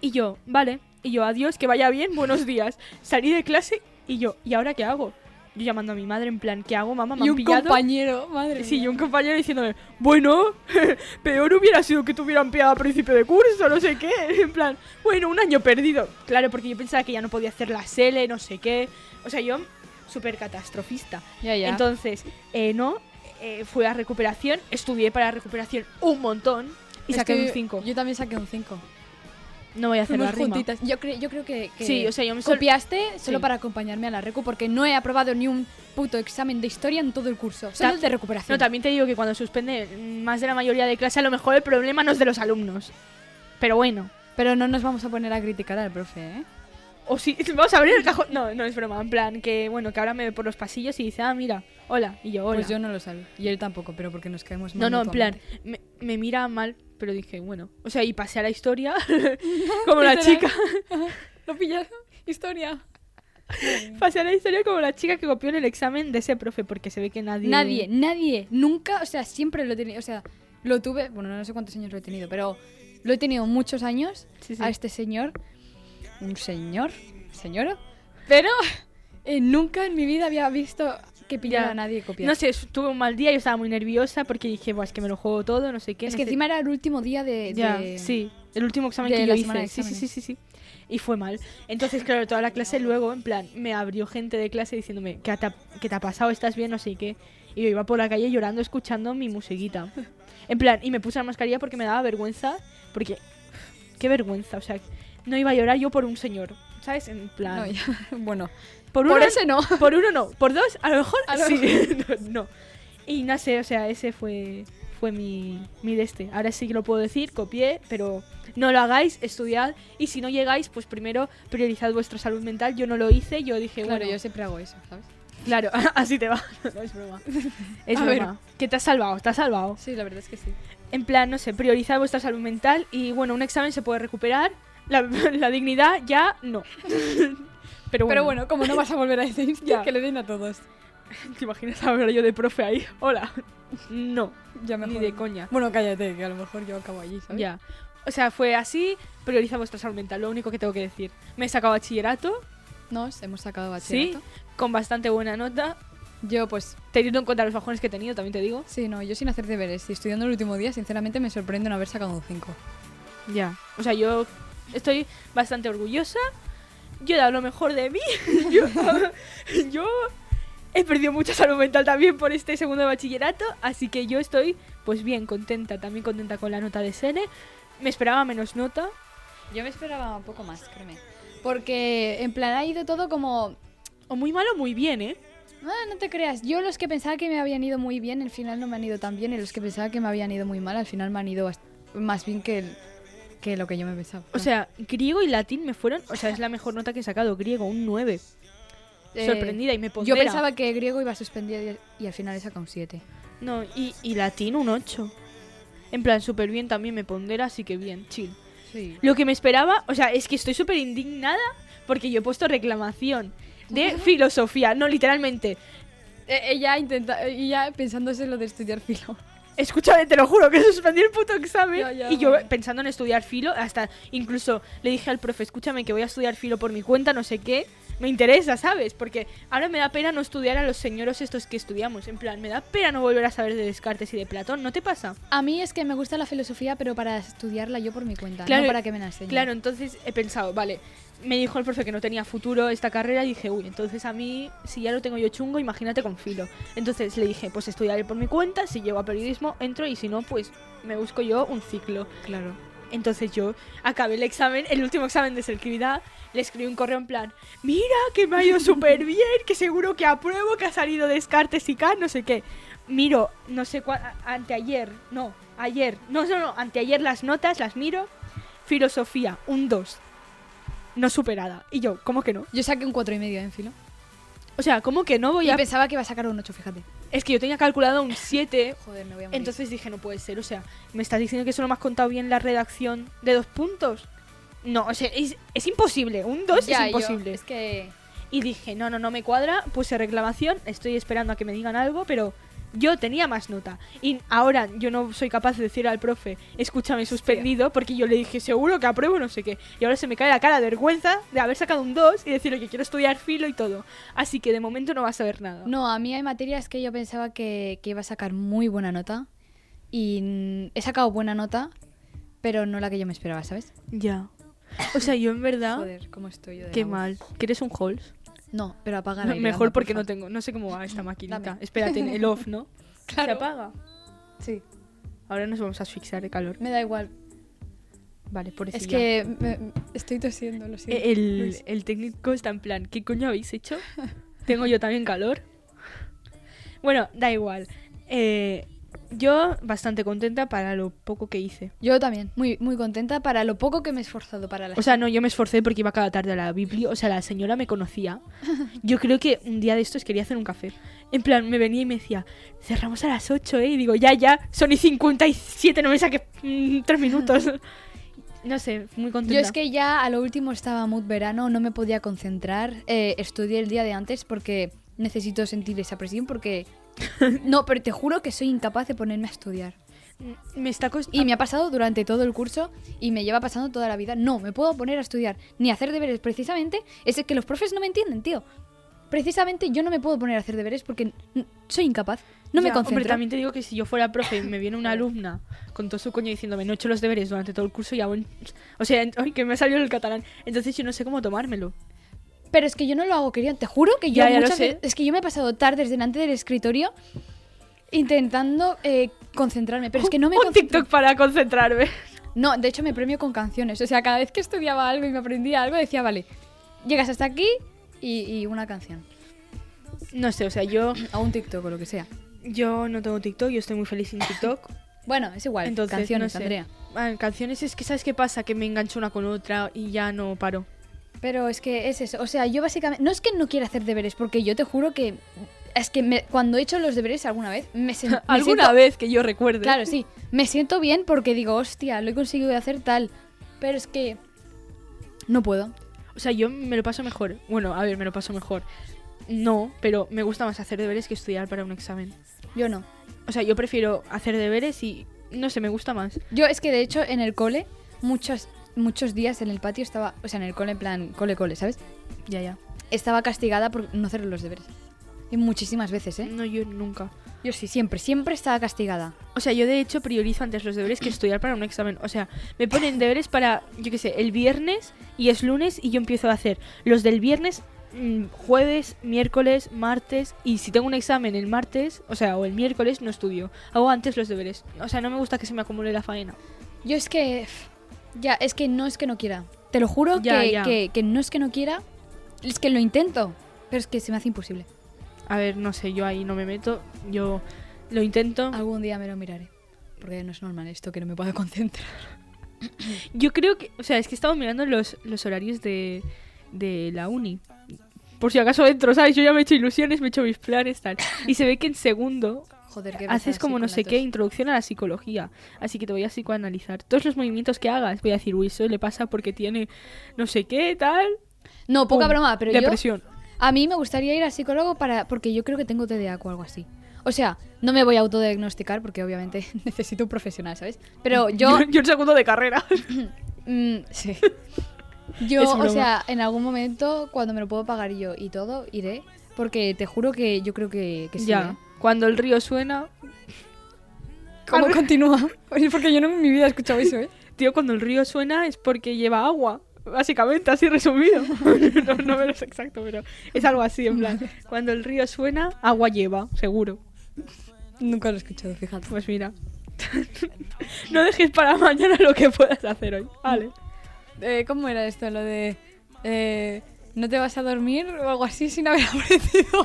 Speaker 3: Y yo, vale. Y yo, adiós, que vaya bien, buenos días. Salí de clase y yo, ¿y ahora qué hago? Yo llamando a mi madre, en plan, ¿qué hago, mamá? Me
Speaker 2: Y
Speaker 3: han
Speaker 2: un
Speaker 3: pillado.
Speaker 2: compañero, madre.
Speaker 3: Sí,
Speaker 2: mía.
Speaker 3: y un compañero diciéndome, bueno, peor hubiera sido que te hubieran pillado a principio de curso, no sé qué. En plan, bueno, un año perdido. Claro, porque yo pensaba que ya no podía hacer la L, no sé qué. O sea, yo, súper catastrofista.
Speaker 2: Ya, ya.
Speaker 3: Entonces, eh, no, eh, fui a recuperación, estudié para recuperación un montón y
Speaker 2: Es
Speaker 3: saqué
Speaker 2: que
Speaker 3: un 5.
Speaker 2: Yo también saqué un 5.
Speaker 3: No voy a hacer la
Speaker 2: Fuimos
Speaker 3: rima.
Speaker 2: juntitas. Yo, cre- yo creo que, que
Speaker 3: Sí, o sea, yo me sol-
Speaker 2: copiaste solo
Speaker 3: Sí.
Speaker 2: para acompañarme a la recu porque no he aprobado ni un puto examen de historia en todo el curso. Solo
Speaker 3: Ta-
Speaker 2: el de recuperación.
Speaker 3: No, también te digo que cuando suspende mm, más de la mayoría de clase, a lo mejor el problema no es de los alumnos. Pero bueno.
Speaker 2: Pero no nos vamos a poner a criticar al profe, ¿eh?
Speaker 3: O si vamos a abrir el cajón. No, no es broma. En plan, que bueno, que ahora me ve por los pasillos y dice, ah, mira, hola. Y yo, hola.
Speaker 2: Pues yo no lo sabía. Y él tampoco, pero porque nos caemos mal
Speaker 3: no, no, en plan,
Speaker 2: mutuamente.
Speaker 3: me, me mira mal, pero dije, bueno. O sea, y pasé a la historia como la chica.
Speaker 2: ¿Lo pillaron? Historia.
Speaker 3: pasé a la historia como la chica que copió en el examen de ese profe, porque se ve que nadie.
Speaker 2: Nadie, nadie, nunca, o sea, siempre lo he tenido, o sea, lo tuve, bueno, no sé cuántos años lo he tenido, pero lo he tenido muchos años
Speaker 3: Sí, sí.
Speaker 2: a este señor, un señor, señora, pero eh, nunca en mi vida había visto que pillara
Speaker 3: Ya.
Speaker 2: a nadie copiando.
Speaker 3: No sé, su- tuve un mal día, yo estaba muy nerviosa porque dije, Buah, es que me lo juego todo, no sé qué.
Speaker 2: es
Speaker 3: no
Speaker 2: que
Speaker 3: sé-
Speaker 2: encima era el último día de...
Speaker 3: Ya,
Speaker 2: de-
Speaker 3: sí. El último examen
Speaker 2: de
Speaker 3: que
Speaker 2: la
Speaker 3: yo
Speaker 2: semana de
Speaker 3: hice. Sí, sí, sí, sí, sí. Y fue mal. Entonces, claro, toda la clase luego, en plan, me abrió gente de clase diciéndome, ¿qué te ha, qué te ha pasado? ¿Estás bien? No sé qué. Y yo iba por la calle llorando, escuchando mi musiquita. En plan, y me puse la mascarilla porque me daba vergüenza. Porque, qué vergüenza. O sea, no iba a llorar yo por un señor. ¿Sabes? En plan.
Speaker 2: No, ya, bueno,
Speaker 3: Por uno,
Speaker 2: por ese no.
Speaker 3: por uno no. Por dos, a lo mejor
Speaker 2: A lo
Speaker 3: sí. no, no. Y no sé, o sea, ese fue, fue mi, mi de este. Ahora sí que lo puedo decir, copié, pero no lo hagáis, estudiad. Y si no llegáis, pues primero priorizad vuestra salud mental. Yo no lo hice, yo dije,
Speaker 2: Claro,
Speaker 3: bueno,
Speaker 2: yo siempre hago eso, ¿sabes?
Speaker 3: claro, así te va. No, es broma. Es
Speaker 2: A ver.
Speaker 3: broma. Que te has salvado, te has salvado.
Speaker 2: Sí, la verdad es que sí.
Speaker 3: En plan, no sé, priorizad vuestra salud mental y bueno, un examen se puede recuperar. La, la dignidad ya no. Pero bueno.
Speaker 2: Pero bueno, como no vas a volver a decir
Speaker 3: Ya.
Speaker 2: que le den a todos,
Speaker 3: ¿Te imaginas hablar yo de profe ahí? Hola. No,
Speaker 2: ya mejor.
Speaker 3: ni de coña.
Speaker 2: Bueno, cállate, que a lo mejor yo acabo allí, ¿sabes?
Speaker 3: Ya. O sea, fue así, prioriza vuestra salud mental, lo único que tengo que decir. Me he sacado bachillerato,
Speaker 2: Nos hemos sacado bachillerato.
Speaker 3: con bastante buena nota,
Speaker 2: Yo, pues,
Speaker 3: teniendo en cuenta los bajones que he tenido, también te digo.
Speaker 2: sí, no, yo sin hacer deberes y estudiando el último día, sinceramente me sorprende no haber sacado un 5.
Speaker 3: Ya. O sea, yo estoy bastante orgullosa, yo he dado lo mejor de mí, yo, yo he perdido mucha salud mental también por este segundo de bachillerato, así que yo estoy pues bien contenta, también contenta con la nota de Sene. Me esperaba menos nota,
Speaker 2: Yo me esperaba un poco más, créeme. Porque, en plan, ha ido todo como.
Speaker 3: O muy malo, muy bien, ¿eh?
Speaker 2: Ah, no te creas. Yo, los que pensaba que me habían ido muy bien, al final no me han ido tan bien. Y los que pensaba que me habían ido muy mal, al final me han ido bast- más bien que, el- que lo que yo me pensaba.
Speaker 3: O sea, griego y latín me fueron. O sea, es la mejor nota que he sacado. Griego, un 9.
Speaker 2: Eh,
Speaker 3: Sorprendida y me
Speaker 2: Yo
Speaker 3: pondera.
Speaker 2: pensaba que griego iba suspendido y, y al final he sacado un 7.
Speaker 3: No, y, y latín, un 8. En plan, súper bien también me pondera, así que bien, chill.
Speaker 2: Sí.
Speaker 3: Lo que me esperaba, o sea, es que estoy súper indignada porque yo he puesto reclamación de filosofía. No, literalmente.
Speaker 2: Eh, Ella intenta, ella pensándose lo de estudiar filo.
Speaker 3: Escúchame, te lo juro, que suspendí el puto examen.
Speaker 2: Ya, ya,
Speaker 3: y yo
Speaker 2: bueno.
Speaker 3: pensando en estudiar filo, hasta incluso le dije al profe, escúchame que voy a estudiar filo por mi cuenta, no sé qué. me interesa, ¿sabes? Porque ahora me da pena no estudiar a los señoros estos que estudiamos. En plan, me da pena no volver a saber de Descartes y de Platón. ¿No te pasa?
Speaker 2: A mí es que me gusta la filosofía, pero para estudiarla yo por mi cuenta,
Speaker 3: Claro,
Speaker 2: no para que me la enseñen.
Speaker 3: Claro, entonces he pensado, vale, me dijo el profe que no tenía futuro esta carrera y dije, uy, entonces a mí, si ya lo tengo yo chungo, imagínate con filo. Entonces le dije, pues estudiaré por mi cuenta, si llego a periodismo, entro y si no, pues me busco yo un ciclo.
Speaker 2: claro.
Speaker 3: Entonces yo acabé el examen, el último examen de selectividad, le escribí un correo en plan, mira que me ha ido súper bien, que seguro que apruebo, que ha salido Descartes y K, no sé qué. Miro, no sé cuál, anteayer, no, ayer, no, no, no, anteayer las notas, las miro, filosofía, un 2, no superada. Y yo, ¿cómo que no?
Speaker 2: Yo saqué un cuatro y medio en filo.
Speaker 3: O sea, ¿cómo que no voy
Speaker 2: Y
Speaker 3: a...?
Speaker 2: pensaba que iba a sacar un 8, fíjate.
Speaker 3: Es que yo tenía calculado un 7,
Speaker 2: Joder, me voy a morir.
Speaker 3: Entonces dije, no puede ser, o sea, ¿me estás diciendo que solo me has contado bien la redacción de dos puntos? No, o sea, es, es imposible, un dos
Speaker 2: Ya,
Speaker 3: es
Speaker 2: yo-
Speaker 3: imposible.
Speaker 2: es que
Speaker 3: Y dije, no, no, no me cuadra, puse reclamación, estoy esperando a que me digan algo, pero yo tenía más nota. Y ahora yo no soy capaz de decir al profe, escúchame suspendido, porque yo le dije, seguro que apruebo, no sé qué. Y ahora se me cae la cara de vergüenza de haber sacado un 2 y decirle que quiero estudiar filo y todo. Así que de momento no vas a ver nada.
Speaker 2: No, a mí hay materias que yo pensaba que, que iba a sacar muy buena nota. Y mm, he sacado buena nota, pero no la que yo me esperaba, ¿sabes?
Speaker 3: Ya. O sea, yo en verdad...
Speaker 2: Joder, cómo estoy yo de
Speaker 3: Qué
Speaker 2: la voz.
Speaker 3: mal. ¿Quieres un Halls?
Speaker 2: No, pero apaga
Speaker 3: Me-
Speaker 2: la
Speaker 3: Mejor porque no tengo, no sé cómo va esta maquinita.
Speaker 2: Dame.
Speaker 3: Espérate, en el off, ¿no?
Speaker 2: Claro.
Speaker 3: Se apaga.
Speaker 2: Sí,
Speaker 3: Ahora nos vamos a asfixiar de calor.
Speaker 2: me da igual.
Speaker 3: Vale, por
Speaker 2: es que me- estoy tosiendo,
Speaker 3: Eh,
Speaker 2: lo siento.
Speaker 3: E, el,
Speaker 2: Luis.
Speaker 3: el técnico está en plan, ¿qué coño habéis hecho? Tengo yo también calor. Bueno, da igual. Eh, yo bastante contenta para lo poco que hice.
Speaker 2: Yo también, muy, muy contenta para lo poco que me he esforzado para la
Speaker 3: O sea, no, yo me esforcé porque iba cada tarde a la Biblia. O sea, la señora me conocía. Yo creo que un día de estos quería hacer un café. En plan, me venía y me decía, cerramos a las 8, ¿eh? Y digo, ya, ya, son y 57, no me saques mm, tres minutos. No sé, muy contenta.
Speaker 2: Yo es que ya a lo último estaba mood verano, no me podía concentrar. eh, estudié el día de antes porque necesito sentir esa presión porque... No, pero te juro que soy incapaz de ponerme a estudiar.
Speaker 3: Me está cost-
Speaker 2: Y me ha pasado durante todo el curso y me lleva pasando toda la vida. No, me puedo poner a estudiar ni a hacer deberes precisamente. Es que los profes no me entienden, tío. Precisamente yo no me puedo poner a hacer deberes porque n- soy incapaz. No me
Speaker 3: Ya,
Speaker 2: concentro.
Speaker 3: Hombre, también te digo que si yo fuera profe y me viene una alumna con todo su coño diciéndome no he hecho los deberes durante todo el curso y aún... O sea, en- ay, que me ha salido el catalán. Entonces yo no sé cómo tomármelo.
Speaker 2: Pero es que yo no lo hago queriendo. Te juro que yo
Speaker 3: Ya, ya lo
Speaker 2: muchas
Speaker 3: sé.
Speaker 2: veces- Es que yo me he pasado tardes delante del escritorio intentando eh, concentrarme. Pero es que no me
Speaker 3: Un
Speaker 2: concentro.
Speaker 3: TikTok para concentrarme.
Speaker 2: No, de hecho me premio con canciones. O sea, cada vez que estudiaba algo y me aprendía algo, decía, vale, llegas hasta aquí y, y una canción.
Speaker 3: No sé, o sea, yo...
Speaker 2: O un TikTok o lo que sea.
Speaker 3: Yo no tengo TikTok, yo estoy muy feliz sin TikTok.
Speaker 2: Bueno, es igual.
Speaker 3: Entonces,
Speaker 2: canciones,
Speaker 3: no sé.
Speaker 2: Andrea.
Speaker 3: Ah, canciones es que sabes qué pasa, que me engancho una con otra y ya no paro.
Speaker 2: Pero es que es eso. O sea, yo básicamente. No es que no quiera hacer deberes, porque yo te juro que. Es que me- cuando he hecho los deberes alguna vez, me, sen- me
Speaker 3: Alguna
Speaker 2: siento-
Speaker 3: vez que yo recuerde.
Speaker 2: Claro, sí. Me siento bien porque digo, hostia, lo he conseguido hacer tal. Pero es que. No puedo.
Speaker 3: O sea, yo me lo paso mejor. Bueno, a ver, me lo paso mejor. No, pero me gusta más hacer deberes que estudiar para un examen.
Speaker 2: Yo no.
Speaker 3: O sea, yo prefiero hacer deberes y no sé, me gusta más.
Speaker 2: Yo es que de hecho en el cole, muchos, muchos días en el patio estaba. O sea, en el cole, en plan, cole, cole, ¿sabes?
Speaker 3: Ya, ya.
Speaker 2: Estaba castigada por no hacer los deberes. Y muchísimas veces, ¿eh?
Speaker 3: No, yo nunca.
Speaker 2: Yo sí, siempre, siempre estaba castigada.
Speaker 3: O sea, yo de hecho priorizo antes los deberes que estudiar para un examen. O sea, me ponen deberes para, yo qué sé, el viernes y es lunes y yo empiezo a hacer los del viernes mm, jueves, miércoles, martes y si tengo un examen el martes, o sea, o el miércoles no estudio. Hago antes los deberes. O sea, no me gusta que se me acumule la faena.
Speaker 2: Yo es que. pf, Ya, es que no es que no quiera. Te lo juro
Speaker 3: Ya,
Speaker 2: que,
Speaker 3: ya.
Speaker 2: que- que no es que no quiera. Es que lo intento. Pero es que se me hace imposible.
Speaker 3: A ver, no sé, yo ahí no me meto. Yo lo intento.
Speaker 2: Algún día me lo miraré. Porque no es normal esto que no me pueda concentrar.
Speaker 3: Yo creo que, o sea, es que he estado mirando los, los horarios de, de la uni. Por si acaso entro, ¿sabes? Yo ya me he hecho ilusiones, me he hecho mis planes, tal. Y se ve que en segundo
Speaker 2: Joder, qué
Speaker 3: haces
Speaker 2: pesada
Speaker 3: como
Speaker 2: soy
Speaker 3: no
Speaker 2: con
Speaker 3: sé
Speaker 2: la
Speaker 3: qué,
Speaker 2: tos.
Speaker 3: introducción a la psicología. Así que te voy a psicoanalizar. Todos los movimientos que hagas, voy a decir, uy, eso le pasa porque tiene no sé qué, tal.
Speaker 2: No, poca
Speaker 3: Pum,
Speaker 2: broma, pero yo.
Speaker 3: Depresión.
Speaker 2: A mí me gustaría ir al psicólogo para, porque yo creo que tengo TDA o algo así. O sea, no me voy a autodiagnosticar porque obviamente necesito un profesional, ¿sabes? Pero yo.
Speaker 3: yo en segundo de carrera.
Speaker 2: Mm, sí. Yo,
Speaker 3: Es
Speaker 2: o
Speaker 3: broma.
Speaker 2: sea, en algún momento, cuando me lo puedo pagar yo y todo, iré. Porque te juro que yo creo que, que sí.
Speaker 3: ya.
Speaker 2: ¿eh?
Speaker 3: Cuando el río suena.
Speaker 2: ¿Cómo
Speaker 3: Arre.
Speaker 2: continúa? Porque yo no en mi vida he escuchado eso, ¿eh?
Speaker 3: Tío, cuando el río suena es porque lleva agua. Básicamente, así resumido. no, no me lo sé exacto, pero es algo así, en plan. Cuando el río suena, agua lleva, seguro.
Speaker 2: Nunca lo he escuchado, fíjate.
Speaker 3: Pues mira. no dejes para mañana lo que puedas hacer hoy. Vale.
Speaker 2: Eh, ¿Cómo era esto? Lo de. eh, ¿No te vas a dormir o algo así sin haber aparecido?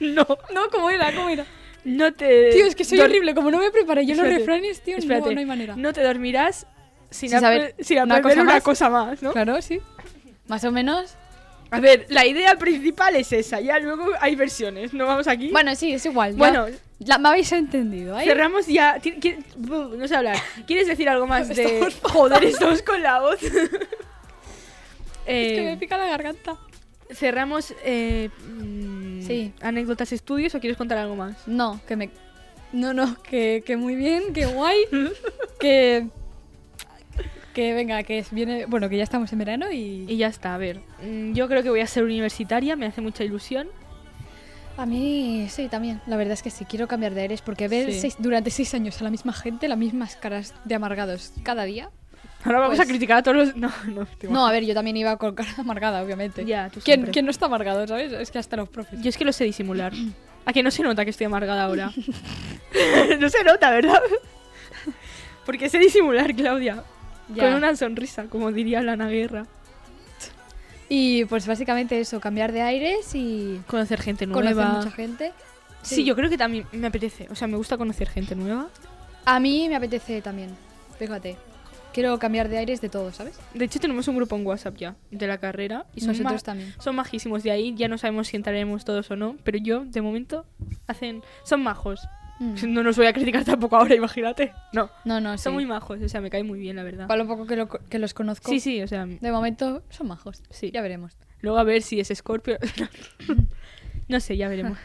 Speaker 3: No,
Speaker 2: No, ¿cómo era? ¿Cómo era?
Speaker 3: no te.
Speaker 2: Tío, es que soy
Speaker 3: dor-
Speaker 2: horrible. Como no me preparé yo los
Speaker 3: Eh, Espérate,
Speaker 2: refranes, tío, no,
Speaker 3: Espérate.
Speaker 2: no hay manera.
Speaker 3: No te dormirás sin,
Speaker 2: Sin
Speaker 3: apre-
Speaker 2: saber
Speaker 3: sin
Speaker 2: una
Speaker 3: aprender
Speaker 2: cosa
Speaker 3: una
Speaker 2: más.
Speaker 3: cosa más, ¿no?
Speaker 2: Claro, sí. Más o menos.
Speaker 3: A ver, la idea principal es esa. Ya luego hay versiones. No vamos aquí.
Speaker 2: Bueno, sí, es igual. ya-
Speaker 3: Bueno,
Speaker 2: la- me habéis entendido. ¿eh?
Speaker 3: cerramos ya. Ti- qui- buh, No sé hablar. ¿Quieres decir algo más de.
Speaker 2: Estamos
Speaker 3: Joder, estamos con la voz.
Speaker 2: Es que
Speaker 3: Eh,
Speaker 2: me pica la garganta.
Speaker 3: cerramos. eh, mm,
Speaker 2: Sí.
Speaker 3: ¿Anécdotas, estudios o quieres contar algo más?
Speaker 2: No, que me. No, no, que, que muy bien, que guay. que. Que venga, que es- viene. Bueno, que ya estamos en verano y.
Speaker 3: Y ya está, a ver. mm, Yo creo que voy a ser universitaria, me hace mucha ilusión.
Speaker 2: A mí sí, también. La verdad es que sí, quiero cambiar de aires porque ver
Speaker 3: Sí.
Speaker 2: seis- durante seis años a la misma gente, las mismas caras de amargados cada día.
Speaker 3: Ahora vamos
Speaker 2: Pues-
Speaker 3: a criticar a todos los. No, no, te
Speaker 2: No, a ver, yo también iba con cara amargada, obviamente.
Speaker 3: "Ah". Ya, tú
Speaker 2: ¿Quién,
Speaker 3: siempre.
Speaker 2: quién no está amargado, sabes? Es que hasta los profes.
Speaker 3: Yo es que lo sé disimular. ¿A que no se nota que estoy amargada ahora? no se nota, ¿verdad? Porque sé disimular, Claudia.
Speaker 2: Ya.
Speaker 3: Con una sonrisa, como diría Lana Guerra.
Speaker 2: Y pues básicamente eso, cambiar de aires y
Speaker 3: Conocer gente nueva.
Speaker 2: conocer mucha gente.
Speaker 3: Sí, yo creo que también me apetece. O sea, me gusta conocer gente nueva.
Speaker 2: A mí me apetece también, fíjate. Quiero cambiar de aires de todo, ¿sabes?
Speaker 3: De hecho, tenemos un grupo en WhatsApp ya, de la carrera.
Speaker 2: Y
Speaker 3: Y son ma-
Speaker 2: nosotros también.
Speaker 3: Son majísimos de ahí, ya no sabemos si entraremos todos o no, pero yo, de momento, hacen... Son majos.
Speaker 2: Mm.
Speaker 3: No nos voy a criticar tampoco ahora, imagínate. No,
Speaker 2: No, no, sí.
Speaker 3: son muy majos, o sea, me cae muy bien, la verdad.
Speaker 2: Para lo poco que, lo- que los conozco,
Speaker 3: Sí, sí, o sea,
Speaker 2: de momento son majos.
Speaker 3: Sí.
Speaker 2: Ya veremos.
Speaker 3: luego a ver si es Scorpio. no sé, ya veremos.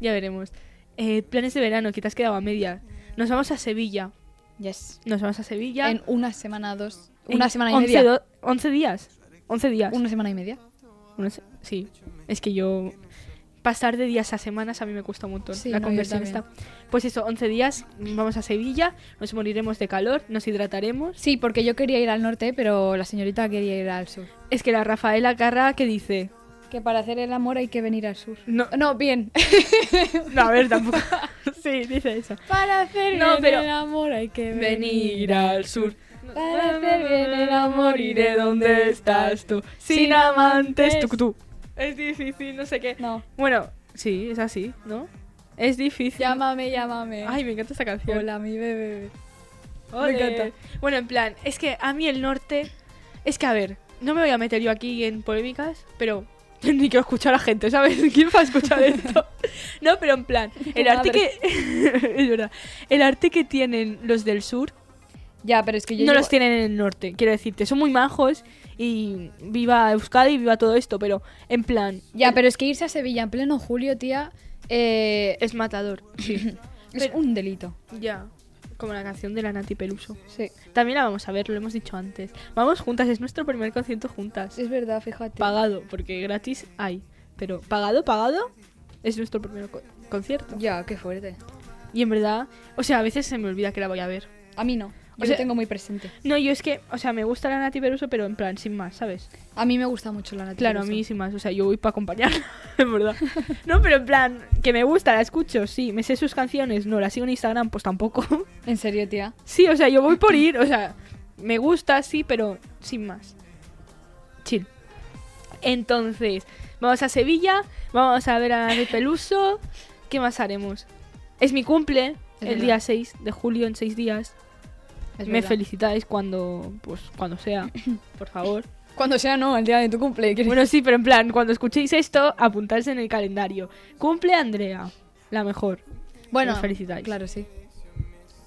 Speaker 3: Ya veremos. Eh, planes de verano, que te has quedado a media. Nos vamos a Sevilla.
Speaker 2: Yes.
Speaker 3: Nos vamos a Sevilla.
Speaker 2: En una semana, dos. Una
Speaker 3: en
Speaker 2: semana y
Speaker 3: 11
Speaker 2: media.
Speaker 3: do- 11 días. 11 días.
Speaker 2: Una semana y media.
Speaker 3: Una se- sí. Es que yo. Pasar de días a semanas a mí me cuesta un montón.
Speaker 2: Sí,
Speaker 3: la
Speaker 2: no, yo
Speaker 3: conversión
Speaker 2: también.
Speaker 3: está. Pues eso, 11 días, vamos a Sevilla, nos moriremos de calor, nos hidrataremos.
Speaker 2: Sí, porque yo quería ir al norte, pero la señorita quería ir al sur.
Speaker 3: Es que la Rafaela Carra que dice.
Speaker 2: Que para hacer el amor hay que venir al sur.
Speaker 3: No,
Speaker 2: No, bien.
Speaker 3: no, a ver, tampoco. sí, dice eso.
Speaker 2: para hacer
Speaker 3: No,
Speaker 2: bien
Speaker 3: pero-
Speaker 2: el amor hay que
Speaker 3: Venir al sur.
Speaker 2: Para hacer bien el amor,
Speaker 3: iré donde estás tú. Sin amantes, tú, tú. Es difícil, no sé qué.
Speaker 2: No.
Speaker 3: Bueno, sí, es así, ¿no? Es difícil.
Speaker 2: Llámame, llámame.
Speaker 3: Ay, me encanta esta canción.
Speaker 2: Hola, mi bebé.
Speaker 3: Ole.
Speaker 2: encanta.
Speaker 3: Bueno, en plan, es que a mí el norte. Es que a ver, no me voy a meter yo aquí en polémicas, pero. Ni quiero escuchar a gente, ¿sabes? ¿Quién va a escuchar esto? No, pero en plan, el
Speaker 2: Tu
Speaker 3: arte
Speaker 2: madre.
Speaker 3: que. es verdad. El arte que tienen los del sur
Speaker 2: Ya, pero es que yo.
Speaker 3: no
Speaker 2: llego-
Speaker 3: los tienen en el norte, quiero decirte. Son muy majos y viva Euskadi, viva todo esto, pero en plan,
Speaker 2: Ya, pero es que irse a Sevilla en pleno julio, tía, eh, es,
Speaker 3: es matador. Sí. pero-
Speaker 2: un delito.
Speaker 3: ya. Como la canción de la Nati Peluso.
Speaker 2: Sí,
Speaker 3: También la vamos a ver, lo hemos dicho antes. Vamos juntas, es nuestro primer concierto juntas.
Speaker 2: es verdad, fíjate.
Speaker 3: pagado, porque gratis hay. Pero pagado, pagado, es nuestro primer co- concierto.
Speaker 2: Ya, qué fuerte.
Speaker 3: Y en verdad, o sea, a veces se me olvida que la voy a ver.
Speaker 2: A mí no. Yo
Speaker 3: O sea-
Speaker 2: lo tengo muy presente.
Speaker 3: No, yo es que, o sea, me gusta la Nati Peruso, pero en plan, sin más, ¿sabes?
Speaker 2: A mí me gusta mucho la Nati
Speaker 3: Claro, a
Speaker 2: Peluso.
Speaker 3: mí sin más, o sea, yo voy para acompañarla, en verdad. No, pero en plan, que me gusta, la escucho, sí, me sé sus canciones, no, la sigo en Instagram, pues tampoco.
Speaker 2: En serio, tía.
Speaker 3: Sí, o sea, yo voy por ir, o sea, me gusta, sí, pero sin más. Chill. Entonces, vamos a Sevilla, vamos a ver a Nati Peluso. ¿Qué más haremos? Es mi cumple,
Speaker 2: Es
Speaker 3: el
Speaker 2: verdad.
Speaker 3: día 6 de julio, en 6 días.
Speaker 2: Es
Speaker 3: me
Speaker 2: verdad.
Speaker 3: felicitáis cuando, pues, cuando sea, por favor.
Speaker 2: Cuando sea, no, el día de tu cumple. quiero-
Speaker 3: Bueno, sí, pero en plan, cuando escuchéis esto, apuntarse en el calendario. Cumple Andrea, la mejor,
Speaker 2: Bueno,
Speaker 3: me felicitáis.
Speaker 2: Claro, sí.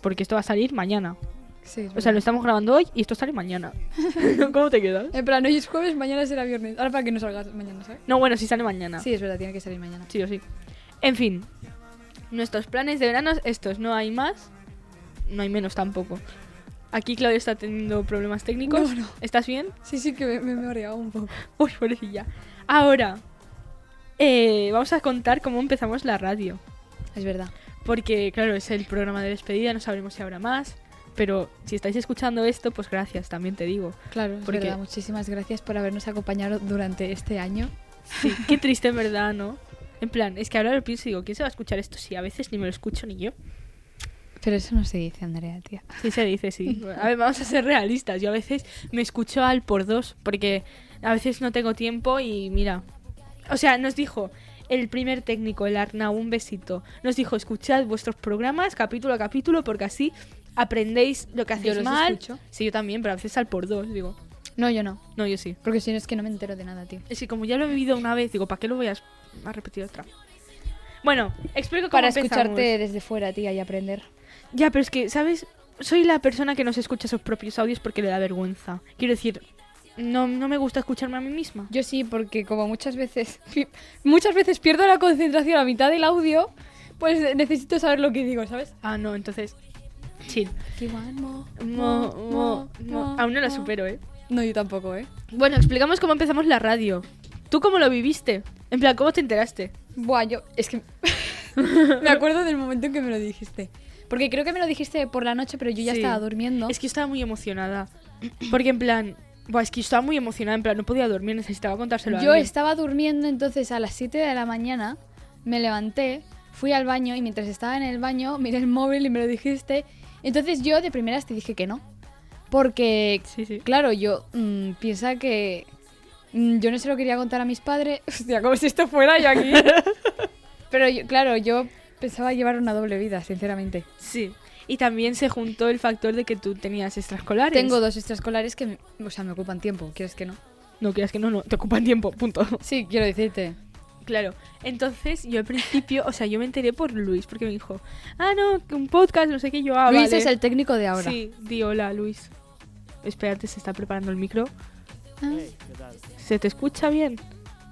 Speaker 3: porque esto va a salir mañana.
Speaker 2: Sí, es
Speaker 3: O sea,
Speaker 2: verdad.
Speaker 3: lo estamos grabando hoy y esto sale mañana. ¿Cómo te quedas?
Speaker 2: En plan, hoy es jueves, mañana será viernes. Ahora para que no salgas mañana, ¿sabes?
Speaker 3: No, bueno, sí sale mañana.
Speaker 2: Sí, es verdad, tiene que salir mañana.
Speaker 3: Sí o sí. En fin, nuestros planes de verano, estos no hay más, no hay menos tampoco. Aquí Claudia está teniendo problemas técnicos.
Speaker 2: No, no.
Speaker 3: ¿Estás bien?
Speaker 2: Sí, sí, que me, me, me he mareado un poco.
Speaker 3: Uy, pobrecilla. Ahora, eh, vamos a contar cómo empezamos la radio.
Speaker 2: Es verdad.
Speaker 3: Porque, claro, es el programa de despedida, no sabremos si habrá más. Pero si estáis escuchando esto, pues gracias, también te digo.
Speaker 2: Claro, es
Speaker 3: Porque-
Speaker 2: verdad. Muchísimas gracias por habernos acompañado durante este año.
Speaker 3: Sí, qué triste en verdad, ¿no? En plan, es que ahora lo pienso y digo, ¿quién se va a escuchar esto? Sí, a veces ni me lo escucho ni yo.
Speaker 2: Pero eso no se dice, Andrea, tía.
Speaker 3: Sí se dice, sí. A ver, vamos a ser realistas. Yo a veces me escucho al por dos, porque a veces no tengo tiempo y mira. O sea, nos dijo el primer técnico, el Arnau, un besito. Nos dijo, escuchad vuestros programas capítulo a capítulo, porque así aprendéis lo que hacéis
Speaker 2: los
Speaker 3: mal.
Speaker 2: escucho.
Speaker 3: Sí, yo también, pero a veces al por dos, digo.
Speaker 2: No, yo no.
Speaker 3: No, yo sí.
Speaker 2: Porque si no es que no me entero de nada, tío.
Speaker 3: Es que como ya lo he vivido una vez, digo, ¿para qué lo voy a, a repetir otra? Bueno, explico cómo
Speaker 2: Para
Speaker 3: empezamos.
Speaker 2: escucharte desde fuera, tía, y aprender.
Speaker 3: Ya, pero es que, ¿sabes? Soy la persona que no se escucha sus propios audios porque le da vergüenza. Quiero decir, no, no me gusta escucharme a mí misma.
Speaker 2: Yo sí, porque como muchas veces muchas veces pierdo la concentración a mitad del audio, pues eh, necesito saber lo que digo, ¿sabes?
Speaker 3: Ah, no, entonces... Chill. Mo,
Speaker 2: Mo,
Speaker 3: mo, mo. Aún no la supero, ¿eh?
Speaker 2: No, yo tampoco, ¿eh?
Speaker 3: Bueno, explicamos cómo empezamos la radio. ¿Tú cómo lo viviste? En plan, ¿cómo te enteraste?
Speaker 2: Buah, yo es que me acuerdo del momento en que me lo dijiste. Porque creo que me lo dijiste por la noche, pero yo ya
Speaker 3: Sí.
Speaker 2: estaba durmiendo.
Speaker 3: Es que yo estaba muy emocionada. Porque en plan... Buah, es que yo estaba muy emocionada, en plan, no podía dormir, necesitaba contárselo a
Speaker 2: Yo
Speaker 3: alguien.
Speaker 2: estaba durmiendo, entonces a las 7 de la mañana me levanté, fui al baño y mientras estaba en el baño miré el móvil y me lo dijiste. Entonces yo de primeras te dije que no. Porque,
Speaker 3: Sí, sí.
Speaker 2: claro, yo mm, piensa que mm, yo no se lo quería contar a mis padres. Hostia, como si esto fuera yo aquí. Pero yo- claro, yo pensaba llevar una doble vida, sinceramente.
Speaker 3: Sí. Y también se juntó el factor de que tú tenías extraescolares.
Speaker 2: Tengo dos extraescolares que, me- o sea, me ocupan tiempo, ¿quieres que no?
Speaker 3: No quieras que no, no, te ocupan tiempo, punto.
Speaker 2: Sí, quiero decirte.
Speaker 3: Claro, entonces yo al principio, o sea, yo me enteré por Luis, porque me dijo, ah, no, que un podcast, no sé qué, yo, ah,
Speaker 2: Luis
Speaker 3: vale".
Speaker 2: es el técnico de ahora.
Speaker 3: Sí, di hola, Luis. Espérate, se está preparando el micro.
Speaker 2: Ah,
Speaker 3: ¿Se te escucha bien?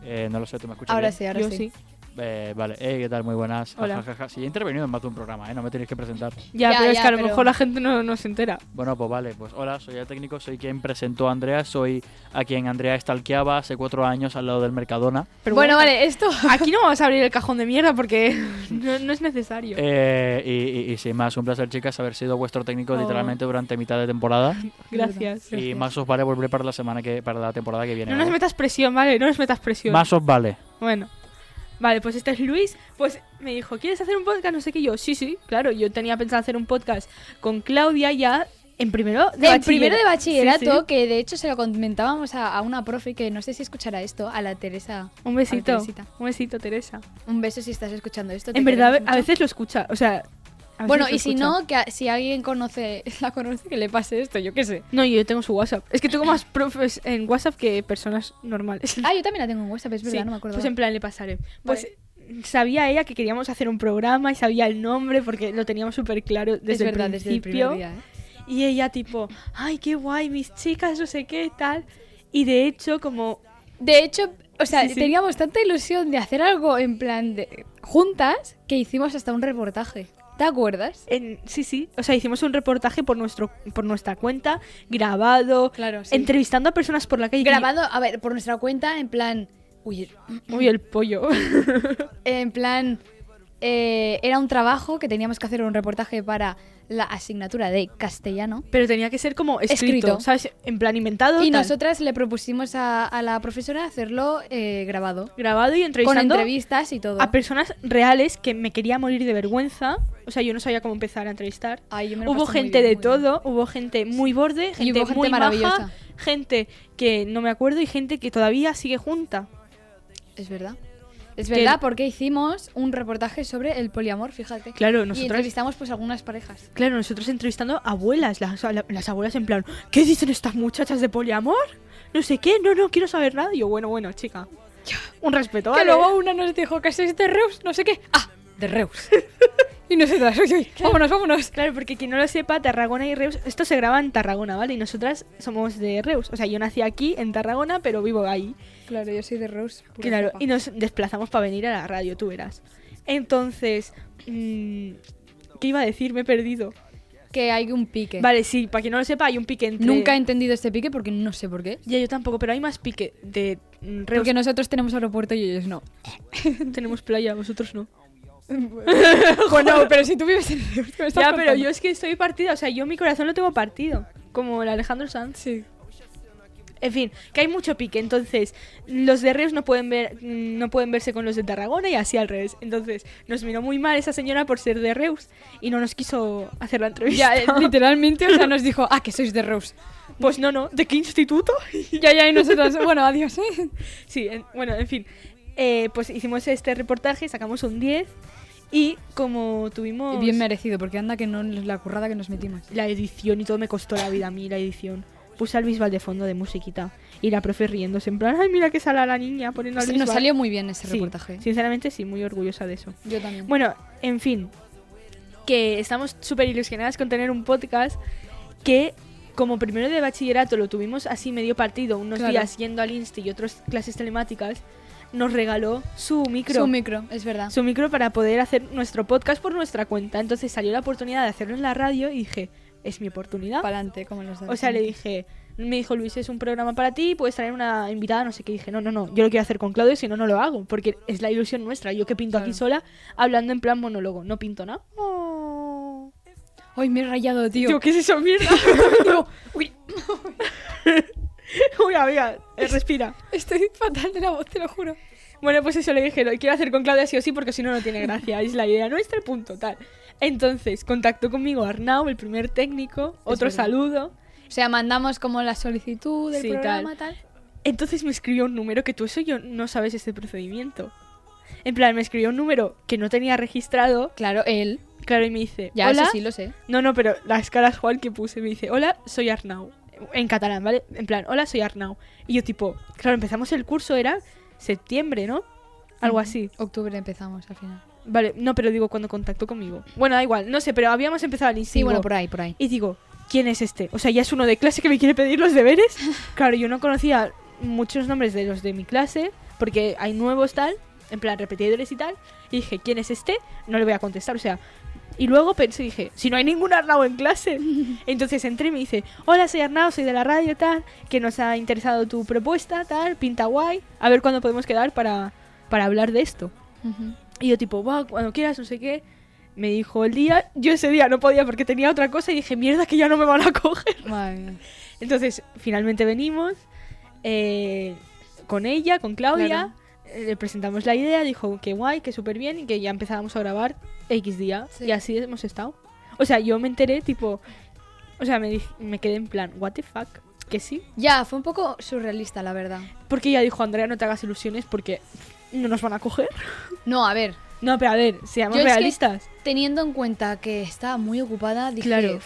Speaker 4: Eh, no lo sé, ¿tú me escuchas
Speaker 2: ahora
Speaker 4: bien?
Speaker 2: sí, ahora
Speaker 3: yo
Speaker 2: sí.
Speaker 3: sí.
Speaker 4: Eh, vale, eh, ¿qué tal? Muy buenas.
Speaker 3: Hola.
Speaker 4: Ja, ja, ja. Sí, he intervenido en más de un programa, ¿eh? No me tenéis que presentar.
Speaker 3: Ya,
Speaker 2: Ya,
Speaker 3: pero es
Speaker 2: ya,
Speaker 3: que a lo
Speaker 2: pero-
Speaker 3: mejor la gente no, no se entera.
Speaker 4: Bueno, pues vale, pues hola, soy el técnico, soy quien presentó a Andrea, soy a quien Andrea stalkeaba hace cuatro años al lado del Mercadona.
Speaker 3: Pero
Speaker 2: bueno, vale, esto.
Speaker 3: Aquí no vamos a abrir el cajón de mierda porque no, no es necesario.
Speaker 4: Eh, y, y- y sin más, un placer, chicas, haber sido vuestro técnico
Speaker 3: Oh.
Speaker 4: literalmente durante mitad de temporada.
Speaker 3: Gracias.
Speaker 4: Y más os vale volver para la semana que para la temporada que viene.
Speaker 3: No nos
Speaker 4: ¿vale?
Speaker 3: metas presión, ¿vale? No nos metas presión.
Speaker 4: Más os vale.
Speaker 3: Bueno. Vale, pues este es Luis. Pues me dijo, ¿quieres hacer un podcast? No sé qué. Yo, sí, sí, claro. Yo tenía pensado hacer un podcast con Claudia ya en primero de
Speaker 2: Del
Speaker 3: bachillerato.
Speaker 2: primero de
Speaker 3: Sí,
Speaker 2: bachillerato,
Speaker 3: sí.
Speaker 2: que de hecho se lo comentábamos a, a una profe que no sé si escuchará esto, a la Teresa.
Speaker 3: Un
Speaker 2: A
Speaker 3: besito.
Speaker 2: la Teresita.
Speaker 3: Un besito, Teresa.
Speaker 2: Un beso si estás escuchando esto. te
Speaker 3: En verdad,
Speaker 2: queremos
Speaker 3: a
Speaker 2: mucho.
Speaker 3: veces lo escucha. O sea. a veces
Speaker 2: Bueno,
Speaker 3: lo
Speaker 2: y si
Speaker 3: escucha.
Speaker 2: no, que a- si alguien conoce, la conoce, que le pase esto, yo qué sé.
Speaker 3: No, yo tengo su WhatsApp. Es que tengo más profes en WhatsApp que personas normales.
Speaker 2: Ah, yo también la tengo en WhatsApp, es verdad,
Speaker 3: Sí,
Speaker 2: no me acuerdo.
Speaker 3: Pues en plan le pasaré. Pues sabía ella que queríamos hacer un programa y sabía el nombre porque lo teníamos súper claro desde
Speaker 2: es verdad,
Speaker 3: el
Speaker 2: desde el
Speaker 3: principio.
Speaker 2: primer día. ¿eh?
Speaker 3: Y ella tipo, ay, qué guay, mis chicas, no sé qué, tal. Y de hecho, como...
Speaker 2: De hecho, o sea,
Speaker 3: Sí, sí.
Speaker 2: teníamos tanta ilusión de hacer algo en plan de juntas que hicimos hasta un reportaje. ¿Te acuerdas?
Speaker 3: En, sí, sí, o sea, hicimos un reportaje por, nuestro, por nuestra cuenta, grabado,
Speaker 2: Claro, sí.
Speaker 3: entrevistando a personas por la calle.
Speaker 2: Grabando, a ver, por nuestra cuenta, en plan. Uy,
Speaker 3: Uy, el pollo.
Speaker 2: En plan, eh, era un trabajo que teníamos que hacer un reportaje para la asignatura de castellano.
Speaker 3: Pero tenía que ser como escrito,
Speaker 2: Escrito.
Speaker 3: ¿sabes? En plan inventado.
Speaker 2: Y
Speaker 3: tal.
Speaker 2: nosotras le propusimos a, a la profesora hacerlo eh, grabado.
Speaker 3: Grabado y
Speaker 2: Con
Speaker 3: entrevistando
Speaker 2: entrevistas y todo.
Speaker 3: a personas reales que me quería morir de vergüenza. O sea, yo no sabía cómo empezar a entrevistar.
Speaker 2: Ay, yo me lo
Speaker 3: Hubo
Speaker 2: pasé muy
Speaker 3: gente
Speaker 2: bien,
Speaker 3: de
Speaker 2: muy
Speaker 3: todo, hubo gente muy borde, gente,
Speaker 2: hubo gente
Speaker 3: muy
Speaker 2: maravillosa.
Speaker 3: maja, gente que no me acuerdo y gente que todavía sigue junta.
Speaker 2: bien. Es verdad. Es
Speaker 3: Que-
Speaker 2: verdad, porque hicimos un reportaje sobre el poliamor, fíjate.
Speaker 3: Claro,
Speaker 2: Y
Speaker 3: nosotros,
Speaker 2: entrevistamos pues algunas parejas.
Speaker 3: claro, nosotros entrevistando abuelas, las, la- las abuelas en plan, ¿qué dicen estas muchachas de poliamor? No sé qué, no, no, quiero saber nada. Y yo, bueno, bueno, chica. Un respeto,
Speaker 2: Que
Speaker 3: Ah, ¿vale?
Speaker 2: luego una nos dijo que sois de Reus, no sé qué. Ah, de Reus. y nosotras, uy, uy, vámonos, vámonos.
Speaker 3: Claro, porque quien no lo sepa, Tarragona y Reus, esto se graba en Tarragona, ¿vale? Y nosotras somos de Reus. O sea, yo nací aquí, en Tarragona, pero vivo ahí.
Speaker 2: Claro, yo soy de Reus. pura
Speaker 3: Claro,
Speaker 2: cepa.
Speaker 3: y nos desplazamos para venir a la radio, tú verás. Entonces, mm, ¿qué iba a decir? Me he perdido.
Speaker 2: que hay un pique.
Speaker 3: Vale, sí, para quien no lo sepa, hay un pique entre...
Speaker 2: Nunca he entendido este pique porque no sé por qué.
Speaker 3: Ya, yo tampoco, pero hay más pique de mm, reos.
Speaker 2: Porque nosotros tenemos aeropuerto y ellos no.
Speaker 3: tenemos playa, vosotros no.
Speaker 2: bueno, pero si tú vives en Reus, ¿qué me estás
Speaker 3: Ya, pero
Speaker 2: contando?
Speaker 3: yo es que estoy partida, o sea, yo mi corazón lo tengo partido, como el Alejandro Sanz.
Speaker 2: Sí.
Speaker 3: En fin, que hay mucho pique, entonces los de Reus no pueden ver mm, no pueden verse con los de Tarragona y así al revés. Entonces, nos miró muy mal esa señora por ser de Reus y no nos quiso hacer
Speaker 2: Ya,
Speaker 3: la entrevista.
Speaker 2: eh, literalmente, o sea, nos dijo, ah, que sois de Reus.
Speaker 3: pues no, no, ¿de qué instituto?
Speaker 2: Ya, ya, y nosotros, bueno, adiós, ¿eh?
Speaker 3: Sí, en- bueno, en fin. Eh, pues hicimos este reportaje, sacamos un 10 y como tuvimos
Speaker 2: Bien merecido, porque anda que no es la currada que nos metimos.
Speaker 3: la edición y todo me costó la vida a mí, la edición. Puse al Bisbal de fondo de musiquita y la profe riéndose en plan, ay, mira que sale la niña poniendo al
Speaker 2: Sí, Nos
Speaker 3: Bisbal".
Speaker 2: salió muy bien ese
Speaker 3: Sí,
Speaker 2: reportaje.
Speaker 3: Sinceramente sí, muy orgullosa de eso.
Speaker 2: Yo también.
Speaker 3: Bueno, en fin, que estamos súper ilusionadas con tener un podcast que como primero de bachillerato lo tuvimos así medio partido, unos
Speaker 2: Claro.
Speaker 3: días yendo al Insti y otras clases telemáticas, nos regaló su micro.
Speaker 2: Su micro, es verdad.
Speaker 3: su micro para poder hacer nuestro podcast por nuestra cuenta. Entonces salió la oportunidad de hacerlo en la radio y dije, es mi oportunidad.
Speaker 2: Pa'lante, como los de
Speaker 3: O sea, le
Speaker 2: Alicante.
Speaker 3: dije, me dijo Luis, es un programa para ti, puedes traer una invitada, no sé qué. Dije, no, no, no, yo lo quiero hacer con Claudio, si no, no lo hago, porque es la ilusión nuestra. Yo que pinto aquí sola, hablando en plan monólogo, no pinto nada.
Speaker 2: "Oh". Ay, me he rayado, tío.
Speaker 3: Digo, ¿qué es eso, mierda? Digo, uy. uy, amiga, eh, respira.
Speaker 2: Estoy fatal de la voz, te lo juro.
Speaker 3: Bueno, pues eso le dije, lo quiero hacer con Claudia sí o sí porque si no, no tiene gracia. Es la idea nuestra, punto, tal. Entonces, contactó conmigo Arnau, el primer técnico, otro
Speaker 2: verdad.
Speaker 3: saludo.
Speaker 2: O sea, mandamos como la solicitud del
Speaker 3: Sí,
Speaker 2: programa, tal.
Speaker 3: Entonces me escribió un número que tú eso yo no sabes este procedimiento. En plan, me escribió un número que no tenía registrado,
Speaker 2: Claro, él.
Speaker 3: claro, y me dice,
Speaker 2: Ya,
Speaker 3: hola.
Speaker 2: eso sí lo sé.
Speaker 3: No, no, pero las caras Juan que puse me dice, hola, soy Arnau. En catalán, ¿vale? En plan, hola, soy Arnau. Y yo tipo, claro, empezamos el curso, era septiembre, ¿no? Algo así.
Speaker 2: Octubre empezamos al final.
Speaker 3: Vale, no, pero digo cuando contactó conmigo. Bueno, da igual, no sé, pero habíamos empezado al
Speaker 2: Sí,
Speaker 3: instinto.
Speaker 2: bueno, por ahí, por ahí.
Speaker 3: Y digo, ¿quién es este? O sea, ya es uno de clase que me quiere pedir los deberes. Claro, yo no conocía muchos nombres de los de mi clase, porque hay nuevos tal, en plan repetidores y tal. Y dije, ¿quién es este? No le voy a contestar, o sea. Y luego pensé, dije, si no hay ningún Arnau en clase. Entonces entré y me dice, hola, soy Arnau, soy de la radio, tal, que nos ha interesado tu propuesta, tal, pinta guay. A ver cuándo podemos quedar para, para hablar de esto.
Speaker 2: Ujú.
Speaker 3: Y yo tipo, va, cuando quieras, no sé qué. Me dijo el día, yo ese día no podía porque tenía otra cosa y dije, mierda, que ya no me van a coger.
Speaker 2: Madre mía.
Speaker 3: Entonces, finalmente venimos eh, con ella, con Claudia, eh, le presentamos la idea, dijo que guay, que súper bien y que ya empezábamos a grabar X día.
Speaker 2: Sí.
Speaker 3: Y así hemos estado. O sea, yo me enteré, tipo, o sea, me, di- me quedé en plan, what the fuck, que sí.
Speaker 2: Ya, fue un poco surrealista, la verdad.
Speaker 3: Porque ella dijo, Andrea, no te hagas ilusiones porque no nos van a coger.
Speaker 2: No, a ver,
Speaker 3: No, pero a ver, seamos
Speaker 2: Yo es que-
Speaker 3: realistas.
Speaker 2: teniendo en cuenta que estaba muy ocupada, dije...
Speaker 3: Claro.
Speaker 2: "Uf,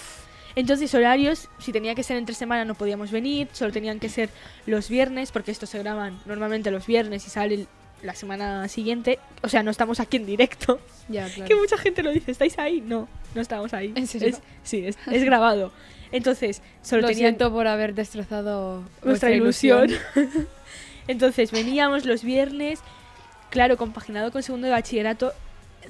Speaker 3: Entonces, horarios, si tenía que ser entre semana no podíamos venir, solo tenían que ser los viernes, porque estos se graban normalmente los viernes y sale el- la semana siguiente. O sea, no estamos aquí en directo.
Speaker 2: Ya, claro.
Speaker 3: Que mucha gente lo dice, ¿estáis ahí? No, no estamos ahí.
Speaker 2: ¿En serio?
Speaker 3: Es- sí, es, es grabado. Entonces, solo
Speaker 2: Lo
Speaker 3: tenían
Speaker 2: siento por haber destrozado
Speaker 3: nuestra
Speaker 2: vuestra
Speaker 3: ilusión. Entonces, veníamos los viernes, claro, compaginado con segundo de bachillerato,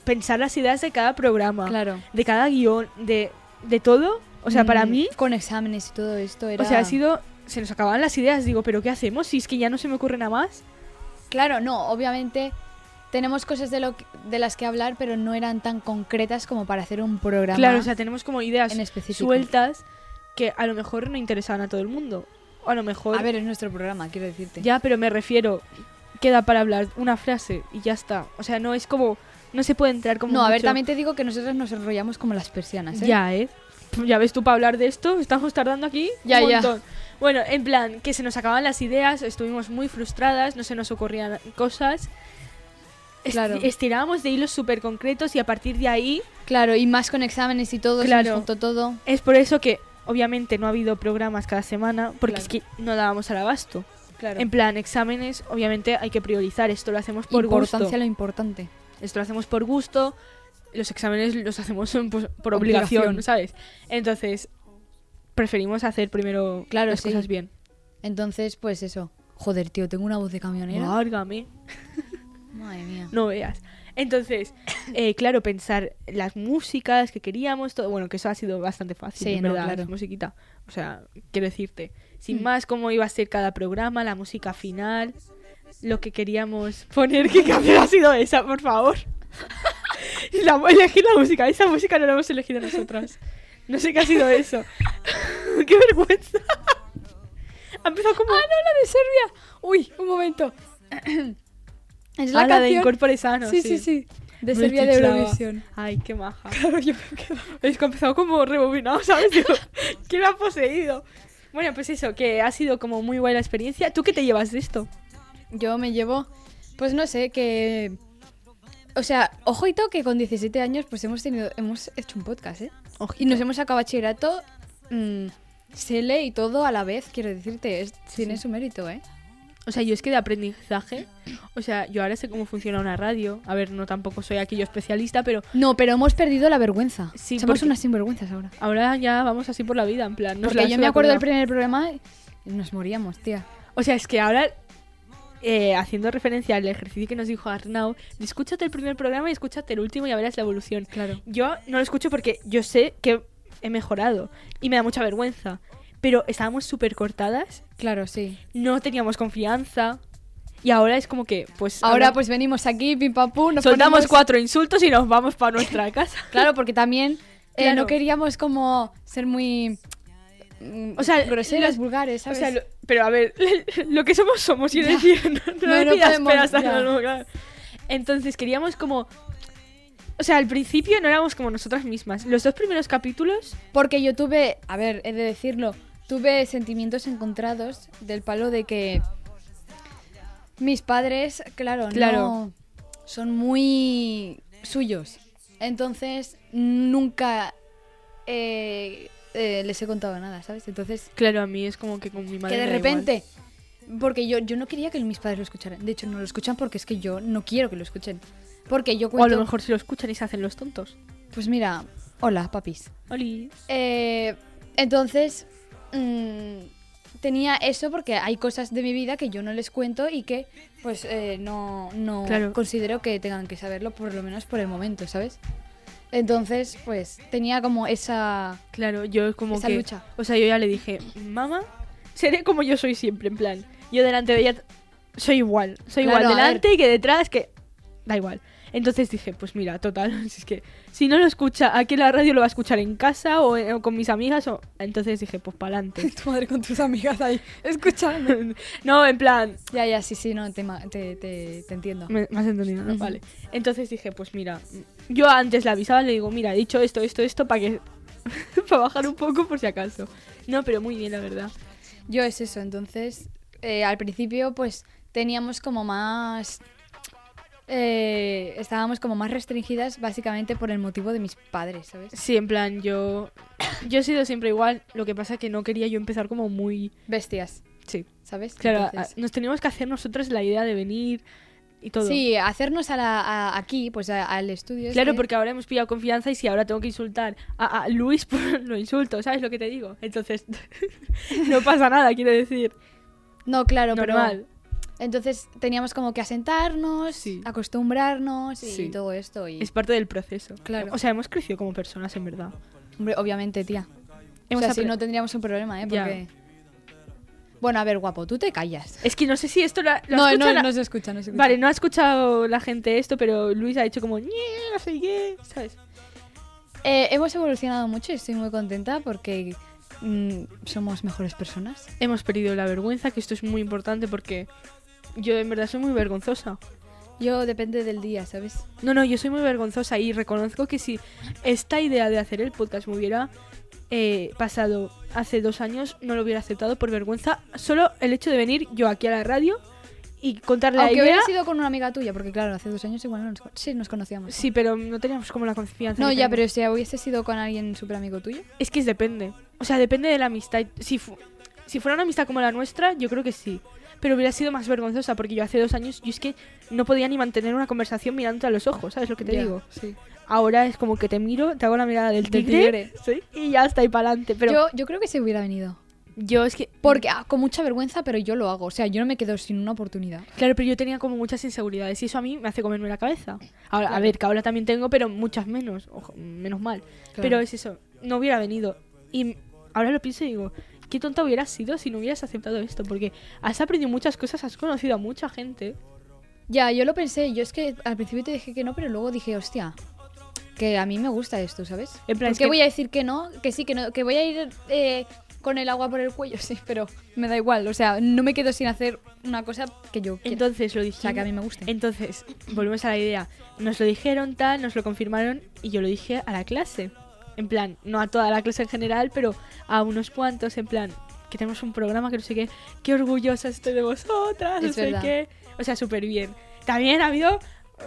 Speaker 3: pensar las ideas de cada programa,
Speaker 2: Claro.
Speaker 3: de cada guión, de, de todo. O sea, para
Speaker 2: Mm,
Speaker 3: mí...
Speaker 2: Con exámenes y todo esto era...
Speaker 3: O sea, ha sido. Se nos acababan las ideas. Digo, ¿pero qué hacemos? Si es que ya no se me ocurre nada más.
Speaker 2: Claro, no, obviamente tenemos cosas de, lo que- de las que hablar, pero no eran tan concretas como para hacer un programa
Speaker 3: Claro, o sea, tenemos como ideas
Speaker 2: en específico.
Speaker 3: sueltas que a lo mejor no interesaban a todo el mundo. O a lo mejor.
Speaker 2: A ver, es nuestro programa, quiero decirte.
Speaker 3: Ya, pero me refiero. Queda para hablar una frase y ya está. O sea, no es como. No se puede entrar como.
Speaker 2: no, a ver,
Speaker 3: mucho-
Speaker 2: también te digo que nosotros nos enrollamos como las persianas, ¿eh?
Speaker 3: Ya, ¿eh? Ya ves tú para hablar de esto, estamos tardando aquí
Speaker 2: Ya,
Speaker 3: un
Speaker 2: ya.
Speaker 3: montón. Bueno, en plan, que se nos acababan las ideas, estuvimos muy frustradas, no se nos ocurrían cosas. Esti-
Speaker 2: Claro.
Speaker 3: Estirábamos de hilos súper concretos y a partir de ahí
Speaker 2: Claro, y más con exámenes y todo, se
Speaker 3: Claro.
Speaker 2: nos juntó todo.
Speaker 3: es por eso que obviamente no ha habido programas cada semana porque
Speaker 2: Claro.
Speaker 3: es que no dábamos al abasto.
Speaker 2: Claro.
Speaker 3: En plan, exámenes, obviamente hay que priorizar, esto lo hacemos por
Speaker 2: Importancia
Speaker 3: gusto.
Speaker 2: lo importante.
Speaker 3: Esto lo hacemos por gusto, los exámenes los hacemos pues, por obligación,
Speaker 2: Obligación.
Speaker 3: ¿sabes? Entonces, preferimos hacer primero
Speaker 2: Claro,
Speaker 3: las
Speaker 2: sí.
Speaker 3: cosas bien.
Speaker 2: Entonces, pues eso. Joder, tío, tengo una voz de camionera.
Speaker 3: Márgame,
Speaker 2: Madre mía.
Speaker 3: no veas. Entonces, eh, claro, pensar las músicas que queríamos, todo, bueno, que eso ha sido bastante fácil,
Speaker 2: Sí,
Speaker 3: en
Speaker 2: no,
Speaker 3: verdad,
Speaker 2: claro.
Speaker 3: la musiquita. O sea, quiero decirte, sin
Speaker 2: Mm.
Speaker 3: más cómo iba a ser cada programa, la música final, lo que queríamos poner, que canción ha sido esa, por favor. la, elegir la música, esa música no la hemos elegido nosotras. No sé qué ha sido eso. ¡Qué vergüenza! ha empezado como...
Speaker 2: Ah, no, la de Serbia. Uy, un momento. es la
Speaker 3: Ah,
Speaker 2: canción.
Speaker 3: de Incorpore Sano,
Speaker 2: sí, sí, sí. De
Speaker 3: Me
Speaker 2: Serbia de
Speaker 3: chiflaba.
Speaker 2: Eurovisión.
Speaker 3: Ay, qué maja.
Speaker 2: Claro, yo me quedo.
Speaker 3: Es que ha empezado como rebobinado, ¿sabes? Digo, ¿Qué me ha poseído? Bueno, pues eso, que ha sido como muy buena experiencia. ¿Tú qué te llevas de esto?
Speaker 2: Yo me llevo, pues no sé, que... O sea, ojito que con 17 años pues hemos tenido, hemos hecho un podcast, ¿eh? Y nos hemos sacado bachillerato, mm, Sele y todo a la vez, quiero decirte, es- tiene su mérito, ¿eh?
Speaker 3: O sea, yo es que de aprendizaje, o sea, yo ahora sé cómo funciona una radio. A ver, no tampoco soy aquí yo especialista, pero
Speaker 2: No, pero hemos perdido la vergüenza.
Speaker 3: Sí,
Speaker 2: Somos
Speaker 3: porque-
Speaker 2: unas sinvergüenzas ahora.
Speaker 3: ahora ya vamos así por la vida, en plan. nos la
Speaker 2: Porque yo me
Speaker 3: suda
Speaker 2: acuerdo
Speaker 3: colgado.
Speaker 2: del primer programa y nos moríamos, tía.
Speaker 3: O sea, es que ahora, eh, haciendo referencia al ejercicio que nos dijo Arnau, escúchate el primer programa y escúchate el último y ya verás la evolución.
Speaker 2: Claro.
Speaker 3: Yo no lo escucho porque yo sé que he mejorado y me da mucha vergüenza. Pero estábamos súper cortadas,
Speaker 2: Claro, sí.
Speaker 3: no teníamos confianza y ahora es como que, pues...
Speaker 2: Ahora
Speaker 3: habla-
Speaker 2: pues venimos aquí, pim pam pum, nos
Speaker 3: soltamos
Speaker 2: ponemos-
Speaker 3: cuatro insultos y nos vamos para nuestra casa.
Speaker 2: Claro, porque también eh,
Speaker 3: Claro.
Speaker 2: no queríamos como ser muy...
Speaker 3: O sea,
Speaker 2: groseras,
Speaker 3: los-
Speaker 2: vulgares, ¿sabes?
Speaker 3: O sea, lo- pero a ver, lo que somos somos, quiero
Speaker 2: Ya.
Speaker 3: decir, no,
Speaker 2: No,
Speaker 3: no, me
Speaker 2: no
Speaker 3: pidas
Speaker 2: podemos,
Speaker 3: peras al
Speaker 2: ya.
Speaker 3: olmo, claro. Entonces queríamos como... O sea, al principio no éramos como nosotras mismas. Los dos primeros capítulos...
Speaker 2: Porque yo tuve, a ver, he de decirlo, tuve sentimientos encontrados del palo de que mis padres, claro,
Speaker 3: Claro.
Speaker 2: no son muy suyos. Entonces nunca eh, eh, les he contado nada, ¿sabes? Entonces,
Speaker 3: Claro, a mí es como que con mi madre...
Speaker 2: que de
Speaker 3: me da
Speaker 2: repente, porque yo, yo no quería que mis padres lo escucharan. De hecho, no lo escuchan porque es que yo no quiero que lo escuchen. Porque yo
Speaker 3: igual. O a
Speaker 2: cuento,
Speaker 3: lo mejor si lo escuchan y se hacen los tontos.
Speaker 2: pues mira, hola, papis.
Speaker 3: Oli.
Speaker 2: Eh, entonces, mm, tenía eso porque hay cosas de mi vida que yo no les cuento y que pues eh, no, no
Speaker 3: Claro.
Speaker 2: considero que tengan que saberlo, por lo menos por el momento, ¿sabes? Entonces, pues tenía como esa...
Speaker 3: Claro, yo es como
Speaker 2: Esa
Speaker 3: que...
Speaker 2: lucha.
Speaker 3: O sea, yo ya le dije, mamá, seré como yo soy siempre, en plan. Yo delante de ella t- soy igual. Soy
Speaker 2: Claro,
Speaker 3: igual
Speaker 2: a
Speaker 3: delante y que detrás, que... Da igual. Entonces dije, pues mira, total, si es que si no lo escucha, aquí en la radio lo va a escuchar en casa o, eh, o con mis amigas o... Entonces dije, pues pa'lante.
Speaker 2: Tu madre con tus amigas ahí, escuchando.
Speaker 3: no, en plan,
Speaker 2: Ya, ya, sí, sí, no, te, ma- te, te- te entiendo.
Speaker 3: Me, me has entendido, ¿no?
Speaker 2: Ujú.
Speaker 3: Vale. Entonces dije, pues mira, yo antes la avisaba, le digo, mira, he dicho esto, esto, esto, para que... para bajar un poco por si acaso. No, pero muy bien, la verdad.
Speaker 2: Yo es eso, entonces eh, al principio pues teníamos como más... eh, estábamos como más restringidas básicamente por el motivo de mis padres, ¿sabes?
Speaker 3: Sí, en plan, yo... Yo he sido siempre igual, lo que pasa que no quería yo empezar como muy...
Speaker 2: bestias,
Speaker 3: Sí.
Speaker 2: ¿sabes?
Speaker 3: Claro,
Speaker 2: Entonces-
Speaker 3: a- nos teníamos que hacer nosotras la idea de venir y todo.
Speaker 2: sí, hacernos a la- a- aquí, pues a- al estudio.
Speaker 3: Claro,
Speaker 2: este.
Speaker 3: porque ahora hemos pillado confianza y si ahora tengo que insultar a, a Luis, pues lo insulto, ¿sabes lo que te digo? Entonces, no pasa nada, quiero decir.
Speaker 2: No, claro,
Speaker 3: Normal.
Speaker 2: pero... Entonces teníamos como que asentarnos,
Speaker 3: Sí.
Speaker 2: acostumbrarnos y
Speaker 3: Sí.
Speaker 2: todo esto. Y,
Speaker 3: Es parte del proceso.
Speaker 2: Claro.
Speaker 3: O sea, hemos crecido como personas, en verdad.
Speaker 2: Hombre, obviamente, tía. O
Speaker 3: Hemos
Speaker 2: sea, si
Speaker 3: apre-
Speaker 2: no tendríamos un problema, ¿eh?
Speaker 3: Ya.
Speaker 2: Porque... Bueno, a ver, guapo, tú te callas.
Speaker 3: Es que no sé si esto la- lo
Speaker 2: No,
Speaker 3: escucha
Speaker 2: no,
Speaker 3: la-
Speaker 2: no se escucha, no se escucha.
Speaker 3: Vale, no ha escuchado la gente esto, pero Luis ha dicho como, "Ñe, no sé qué, ¿sabes?
Speaker 2: Eh, hemos evolucionado mucho y estoy muy contenta porque mm, somos mejores personas.
Speaker 3: Hemos perdido la vergüenza, que esto es muy importante porque yo en verdad soy muy vergonzosa.
Speaker 2: Yo depende del día, ¿sabes?
Speaker 3: No, no, yo soy muy vergonzosa y reconozco que si esta idea de hacer el podcast me hubiera eh, pasado hace dos años, no lo hubiera aceptado por vergüenza. Solo el hecho de venir yo aquí a la radio y contar la
Speaker 2: Aunque
Speaker 3: idea.
Speaker 2: hubiera sido con una amiga tuya, porque claro, hace dos años igual no nos, con- sí, nos conocíamos.
Speaker 3: Sí, pero no teníamos como la confianza.
Speaker 2: No,
Speaker 3: que
Speaker 2: ya,
Speaker 3: tenemos.
Speaker 2: pero si hubiese sido con alguien súper amigo tuyo.
Speaker 3: Es que es depende. O sea, depende de la amistad. Si, fu- si fuera una amistad como la nuestra, yo creo que sí. Pero hubiera sido más vergonzosa porque yo hace dos años, yo es que no podía ni mantener una conversación mirándote a los ojos, ¿sabes lo que te
Speaker 2: Ya,
Speaker 3: digo?
Speaker 2: Sí.
Speaker 3: Ahora es como que te miro, te hago la mirada del
Speaker 2: Del
Speaker 3: tigre,
Speaker 2: tigre.
Speaker 3: sí, y ya está, y para adelante. Pero
Speaker 2: yo, yo creo que se hubiera venido.
Speaker 5: Yo es que.
Speaker 2: Porque ah, con mucha vergüenza, pero yo lo hago. O sea, yo no me quedo sin una oportunidad.
Speaker 3: Claro, pero yo tenía como muchas inseguridades y eso a mí me hace comerme la cabeza. Ahora, a ver, que ahora también tengo, pero muchas menos, ojo, menos mal. Pero es eso, no hubiera venido. Y m- ahora lo pienso y digo, qué tonta hubieras sido si no hubieras aceptado esto, porque has aprendido muchas cosas, has conocido a mucha gente.
Speaker 2: Ya, yo lo pensé. Yo es que al principio te dije que no, pero luego dije, hostia, que a mí me gusta esto, ¿sabes?
Speaker 3: En plan,
Speaker 2: ¿Por
Speaker 3: es
Speaker 2: qué
Speaker 3: que-
Speaker 2: voy a decir que no? Que sí, que no, que voy a ir eh, con el agua por el cuello, sí, pero me da igual. O sea, no me quedo sin hacer una cosa que yo quiera.
Speaker 3: Entonces lo
Speaker 2: o
Speaker 3: dijimos.
Speaker 2: sea, que a mí me guste.
Speaker 3: Entonces, volvemos a la idea. Nos lo dijeron tal, nos lo confirmaron y yo lo dije a la clase. En plan, no a toda la clase en general, pero a unos cuantos, en plan, que tenemos un programa que no sé qué, qué orgullosa estoy de vosotras, no
Speaker 2: Es
Speaker 3: sé
Speaker 2: verdad.
Speaker 3: qué. O sea, súper bien. También ha habido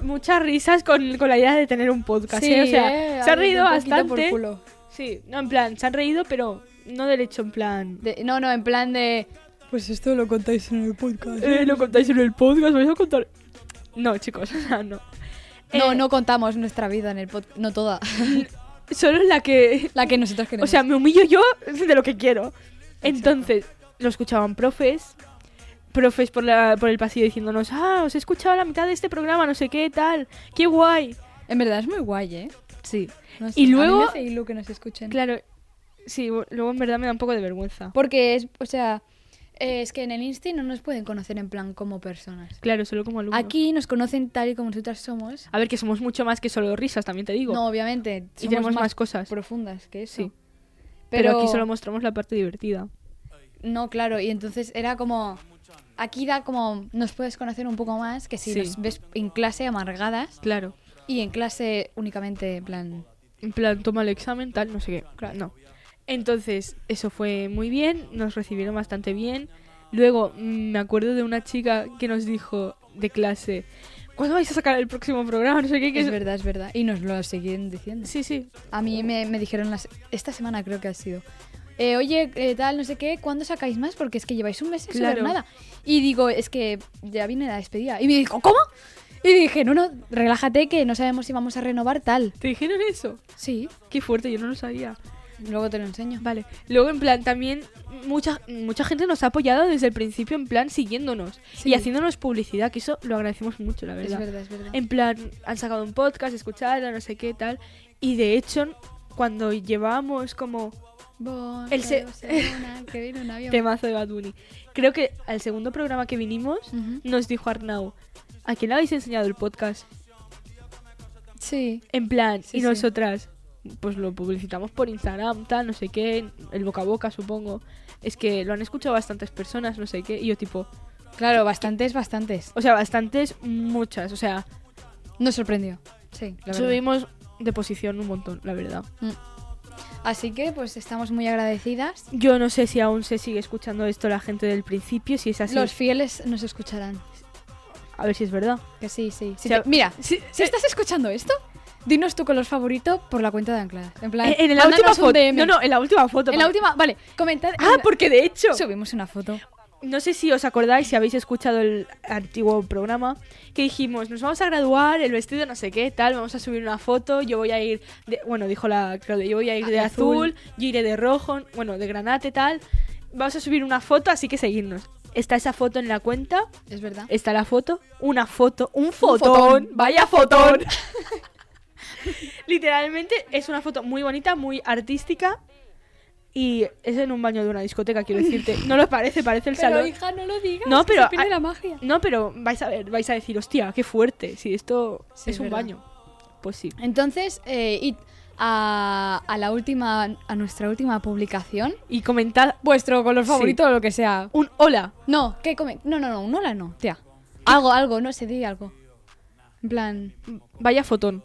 Speaker 3: muchas risas con, con la idea de tener un podcast. ¿eh? O sea,
Speaker 2: eh,
Speaker 3: se
Speaker 2: ha
Speaker 3: han reído
Speaker 2: habido un poquito por
Speaker 3: bastante.
Speaker 2: culo.
Speaker 3: Sí, no, en plan, se han reído, pero no del hecho, en plan.
Speaker 2: De- no, no, en plan de.
Speaker 5: Pues esto lo contáis en el podcast.
Speaker 3: "Eh, lo contáis en el podcast, vais a contar. No, chicos, o sea, no.
Speaker 2: No,
Speaker 3: Eh,
Speaker 2: no contamos nuestra vida en el podcast. No toda.
Speaker 3: Solo la que
Speaker 2: La que nosotros
Speaker 3: O
Speaker 2: queremos.
Speaker 3: sea, me humillo yo de lo que quiero. Entonces, lo escuchaban profes, profes por, la, por el pasillo diciéndonos, ah, os he escuchado la mitad de este programa, no sé qué, tal, qué guay.
Speaker 2: en verdad es muy guay, ¿eh?
Speaker 3: Sí.
Speaker 2: No sé,
Speaker 3: Y
Speaker 2: a mí
Speaker 3: luego-
Speaker 2: me hace ilu que nos escuchen.
Speaker 3: Claro, sí, bu- luego en verdad me da un poco de vergüenza.
Speaker 2: Porque es, o sea, eh, es que en el Insti no nos pueden conocer en plan como personas.
Speaker 3: Claro, solo como alumno.
Speaker 2: Aquí nos conocen tal y como nosotras somos.
Speaker 3: A ver, que somos mucho más que solo risas, también te digo.
Speaker 2: No, obviamente.
Speaker 3: y tenemos más, cosas. Pero,
Speaker 2: profundas que eso.
Speaker 3: Sí.
Speaker 2: Pero,
Speaker 3: aquí solo mostramos la parte divertida.
Speaker 2: No, claro, y entonces era como... Aquí da como... Nos puedes conocer un poco más que si
Speaker 3: Sí.
Speaker 2: nos ves en clase amargadas
Speaker 3: Claro.
Speaker 2: y en clase únicamente en plan...
Speaker 3: En plan, toma el examen, tal, no sé qué. Claro, no. Entonces, eso fue muy bien, nos recibieron bastante bien. Luego, mm, me acuerdo de una chica que nos dijo de clase, ¿cuándo vais a sacar el próximo programa? No sé qué. que
Speaker 2: Es verdad, es verdad. Y nos lo siguen diciendo.
Speaker 3: Sí, sí.
Speaker 2: A mí me, me dijeron las, esta semana creo que ha sido. eh, oye, eh, tal, no sé qué, ¿cuándo sacáis más? Porque es que lleváis un mes sin sacar
Speaker 3: Claro.
Speaker 2: nada. Y digo, es que ya viene la despedida. Y me dijo, ¿cómo? Y dije, no, no, relájate que no sabemos si vamos a renovar tal.
Speaker 3: ¿Te dijeron eso?
Speaker 2: Sí,
Speaker 3: Qué fuerte, yo no lo sabía.
Speaker 2: luego te lo enseño.
Speaker 3: Vale. Luego, en plan, también mucha, mucha gente nos ha apoyado desde el principio, en plan, siguiéndonos
Speaker 2: Sí.
Speaker 3: y haciéndonos publicidad, que eso lo agradecemos mucho, la
Speaker 2: Es verdad, es verdad.
Speaker 3: En plan, han sacado un podcast, escuchadlo, no sé qué, tal. Y de hecho, cuando llevábamos como
Speaker 2: Voy
Speaker 3: el se-
Speaker 2: a Barcelona, que viene un avión.
Speaker 3: temazo de Bad Bunny, creo que al segundo programa que vinimos,
Speaker 2: Ujú.
Speaker 3: nos dijo Arnau, ¿a quién le habéis enseñado el podcast?
Speaker 2: Sí,
Speaker 3: En plan,
Speaker 2: Sí,
Speaker 3: y
Speaker 2: sí.
Speaker 3: nosotras, pues lo publicitamos por Instagram, tal, no sé qué, el boca a boca, supongo. Es que lo han escuchado bastantes personas, no sé qué, y yo tipo,
Speaker 2: claro, bastantes, bastantes.
Speaker 3: o sea, bastantes, muchas, o sea,
Speaker 2: Nos sorprendió. Sí, la verdad.
Speaker 3: subimos de posición un montón, la verdad.
Speaker 2: Así que pues estamos muy agradecidas.
Speaker 3: Yo no sé si aún se sigue escuchando esto la gente del principio, si es así.
Speaker 2: Los fieles nos escucharán.
Speaker 3: A ver si es verdad.
Speaker 2: Que sí, sí. Si
Speaker 3: O sea,
Speaker 2: te- mira,
Speaker 3: Sí,
Speaker 2: Si estás escuchando esto, dinos tu color favorito por la cuenta de Ancladas. En plan,
Speaker 3: en, en la última
Speaker 2: mándanos un
Speaker 3: foto.
Speaker 2: DM.
Speaker 3: No, no, en la última foto.
Speaker 2: en la
Speaker 3: pa-
Speaker 2: última, vale, comentad. en
Speaker 3: Ah,
Speaker 2: la-
Speaker 3: porque de hecho,
Speaker 2: Subimos una foto.
Speaker 3: no sé si os acordáis, si habéis escuchado el antiguo programa, que dijimos, nos vamos a graduar, el vestido no sé qué, tal, vamos a subir una foto, yo voy a ir, de- bueno, dijo la Claudia, yo voy a ir
Speaker 2: Ah,
Speaker 3: de
Speaker 2: de
Speaker 3: azul,
Speaker 2: azul.
Speaker 3: yo iré de rojo, bueno, de granate, tal. Vamos a subir una foto, así que seguidnos. Está esa foto en la cuenta,
Speaker 2: Es verdad.
Speaker 3: está la foto, una foto, un fotón,
Speaker 2: fotón.
Speaker 3: vaya fotón. Literalmente es una foto muy bonita, muy artística y es en un baño de una discoteca, quiero decirte. No lo parece, parece el salón.
Speaker 2: hija, no lo digas.
Speaker 3: No,
Speaker 2: que
Speaker 3: pero-
Speaker 2: Se pierde
Speaker 3: ah,
Speaker 2: la magia.
Speaker 3: No, pero vais a ver, vais a decir, hostia, qué fuerte, si esto
Speaker 2: Sí,
Speaker 3: es
Speaker 2: es
Speaker 3: un
Speaker 2: verdad.
Speaker 3: baño. Pues sí.
Speaker 2: Entonces, eh, id a, a la última, a nuestra última publicación.
Speaker 3: Y comentad
Speaker 2: Vuestro color
Speaker 3: Sí.
Speaker 2: favorito o lo que sea.
Speaker 3: un hola.
Speaker 2: No, ¿qué comen? No, no, no, un hola no, tía. Algo, algo, no sé, di algo. En plan,
Speaker 3: Vaya fotón.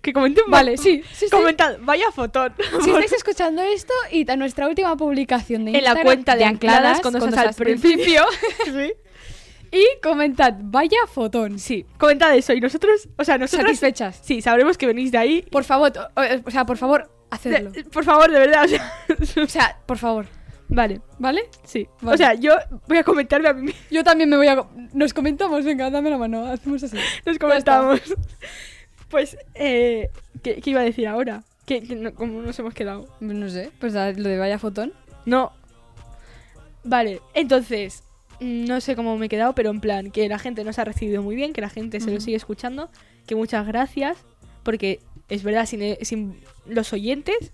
Speaker 3: Que comenten.
Speaker 2: Vale, sí, sí, sí.
Speaker 3: Comentad, vaya fotón.
Speaker 2: si estáis escuchando esto, id a nuestra última publicación de
Speaker 3: en la
Speaker 2: Instagram
Speaker 3: cuenta de, ancladas, cuando
Speaker 2: con
Speaker 3: estás
Speaker 2: dos
Speaker 3: al
Speaker 2: as
Speaker 3: principio. sí.
Speaker 2: Y comentad, vaya fotón.
Speaker 3: Sí, comentad eso. Y nosotros, o sea, nosotros.
Speaker 2: Satisfechas.
Speaker 3: Sí, sabremos que venís de ahí.
Speaker 2: Por favor, o, o- o sea, por favor, hacedlo.
Speaker 3: De- por favor, de verdad. o sea,
Speaker 2: O sea, por favor,
Speaker 3: vale,
Speaker 2: ¿vale?
Speaker 3: sí. O
Speaker 2: Vale.
Speaker 3: sea, yo voy a comentarme a mí misma.
Speaker 2: Yo también me voy a... Nos comentamos, venga, dame la mano, hacemos así.
Speaker 3: Nos comentamos. Pues, eh, ¿qué, qué iba a decir ahora? Que, que no- ¿Cómo nos hemos quedado?
Speaker 2: No sé, pues ah, lo de vaya fotón.
Speaker 3: No. Vale, entonces, mm, no sé cómo me he quedado, pero en plan, que la gente nos ha recibido muy bien, que la gente se lo
Speaker 2: Ujú.
Speaker 3: sigue escuchando, que muchas gracias, porque es verdad, sin, eh, sin los oyentes,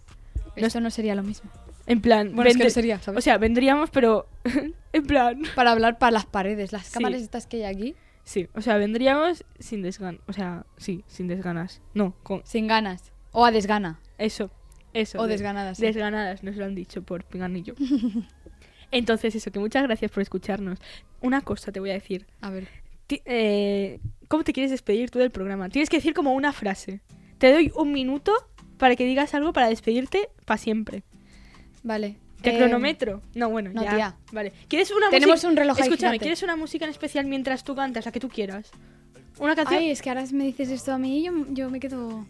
Speaker 2: No, eso no sería lo mismo.
Speaker 3: en plan,
Speaker 2: Bueno, es que
Speaker 3: vende-
Speaker 2: no sería, ¿sabes?
Speaker 3: o sea, vendríamos, pero en plan,
Speaker 2: para hablar para las paredes, las
Speaker 3: Sí.
Speaker 2: cámaras estas que hay aquí,
Speaker 3: sí, o sea, vendríamos sin desgan, o sea, sí, sin desganas, no, con
Speaker 2: sin ganas. O a desgana.
Speaker 3: eso, eso.
Speaker 2: O
Speaker 3: de-
Speaker 2: desganadas. sí.
Speaker 3: Desganadas, nos lo han dicho por pinganillo. Entonces, eso, que muchas gracias por escucharnos. Una cosa te voy a decir.
Speaker 2: A ver.
Speaker 3: Ti- eh, ¿Cómo te quieres despedir tú del programa? Tienes que decir como una frase. Te doy un minuto para que digas algo para despedirte para siempre.
Speaker 2: Vale.
Speaker 3: ¿Te
Speaker 2: Eh,
Speaker 3: cronometro? No, bueno,
Speaker 2: no,
Speaker 3: ya.
Speaker 2: tía.
Speaker 3: Vale. ¿Quieres una
Speaker 2: Tenemos
Speaker 3: música-
Speaker 2: un reloj ahí
Speaker 3: Escúchame,
Speaker 2: gigante.
Speaker 3: ¿quieres una música en especial mientras tú cantas? La que tú quieras. Una canción,
Speaker 2: Ay, es que ahora me dices esto a mí y yo, yo me quedo.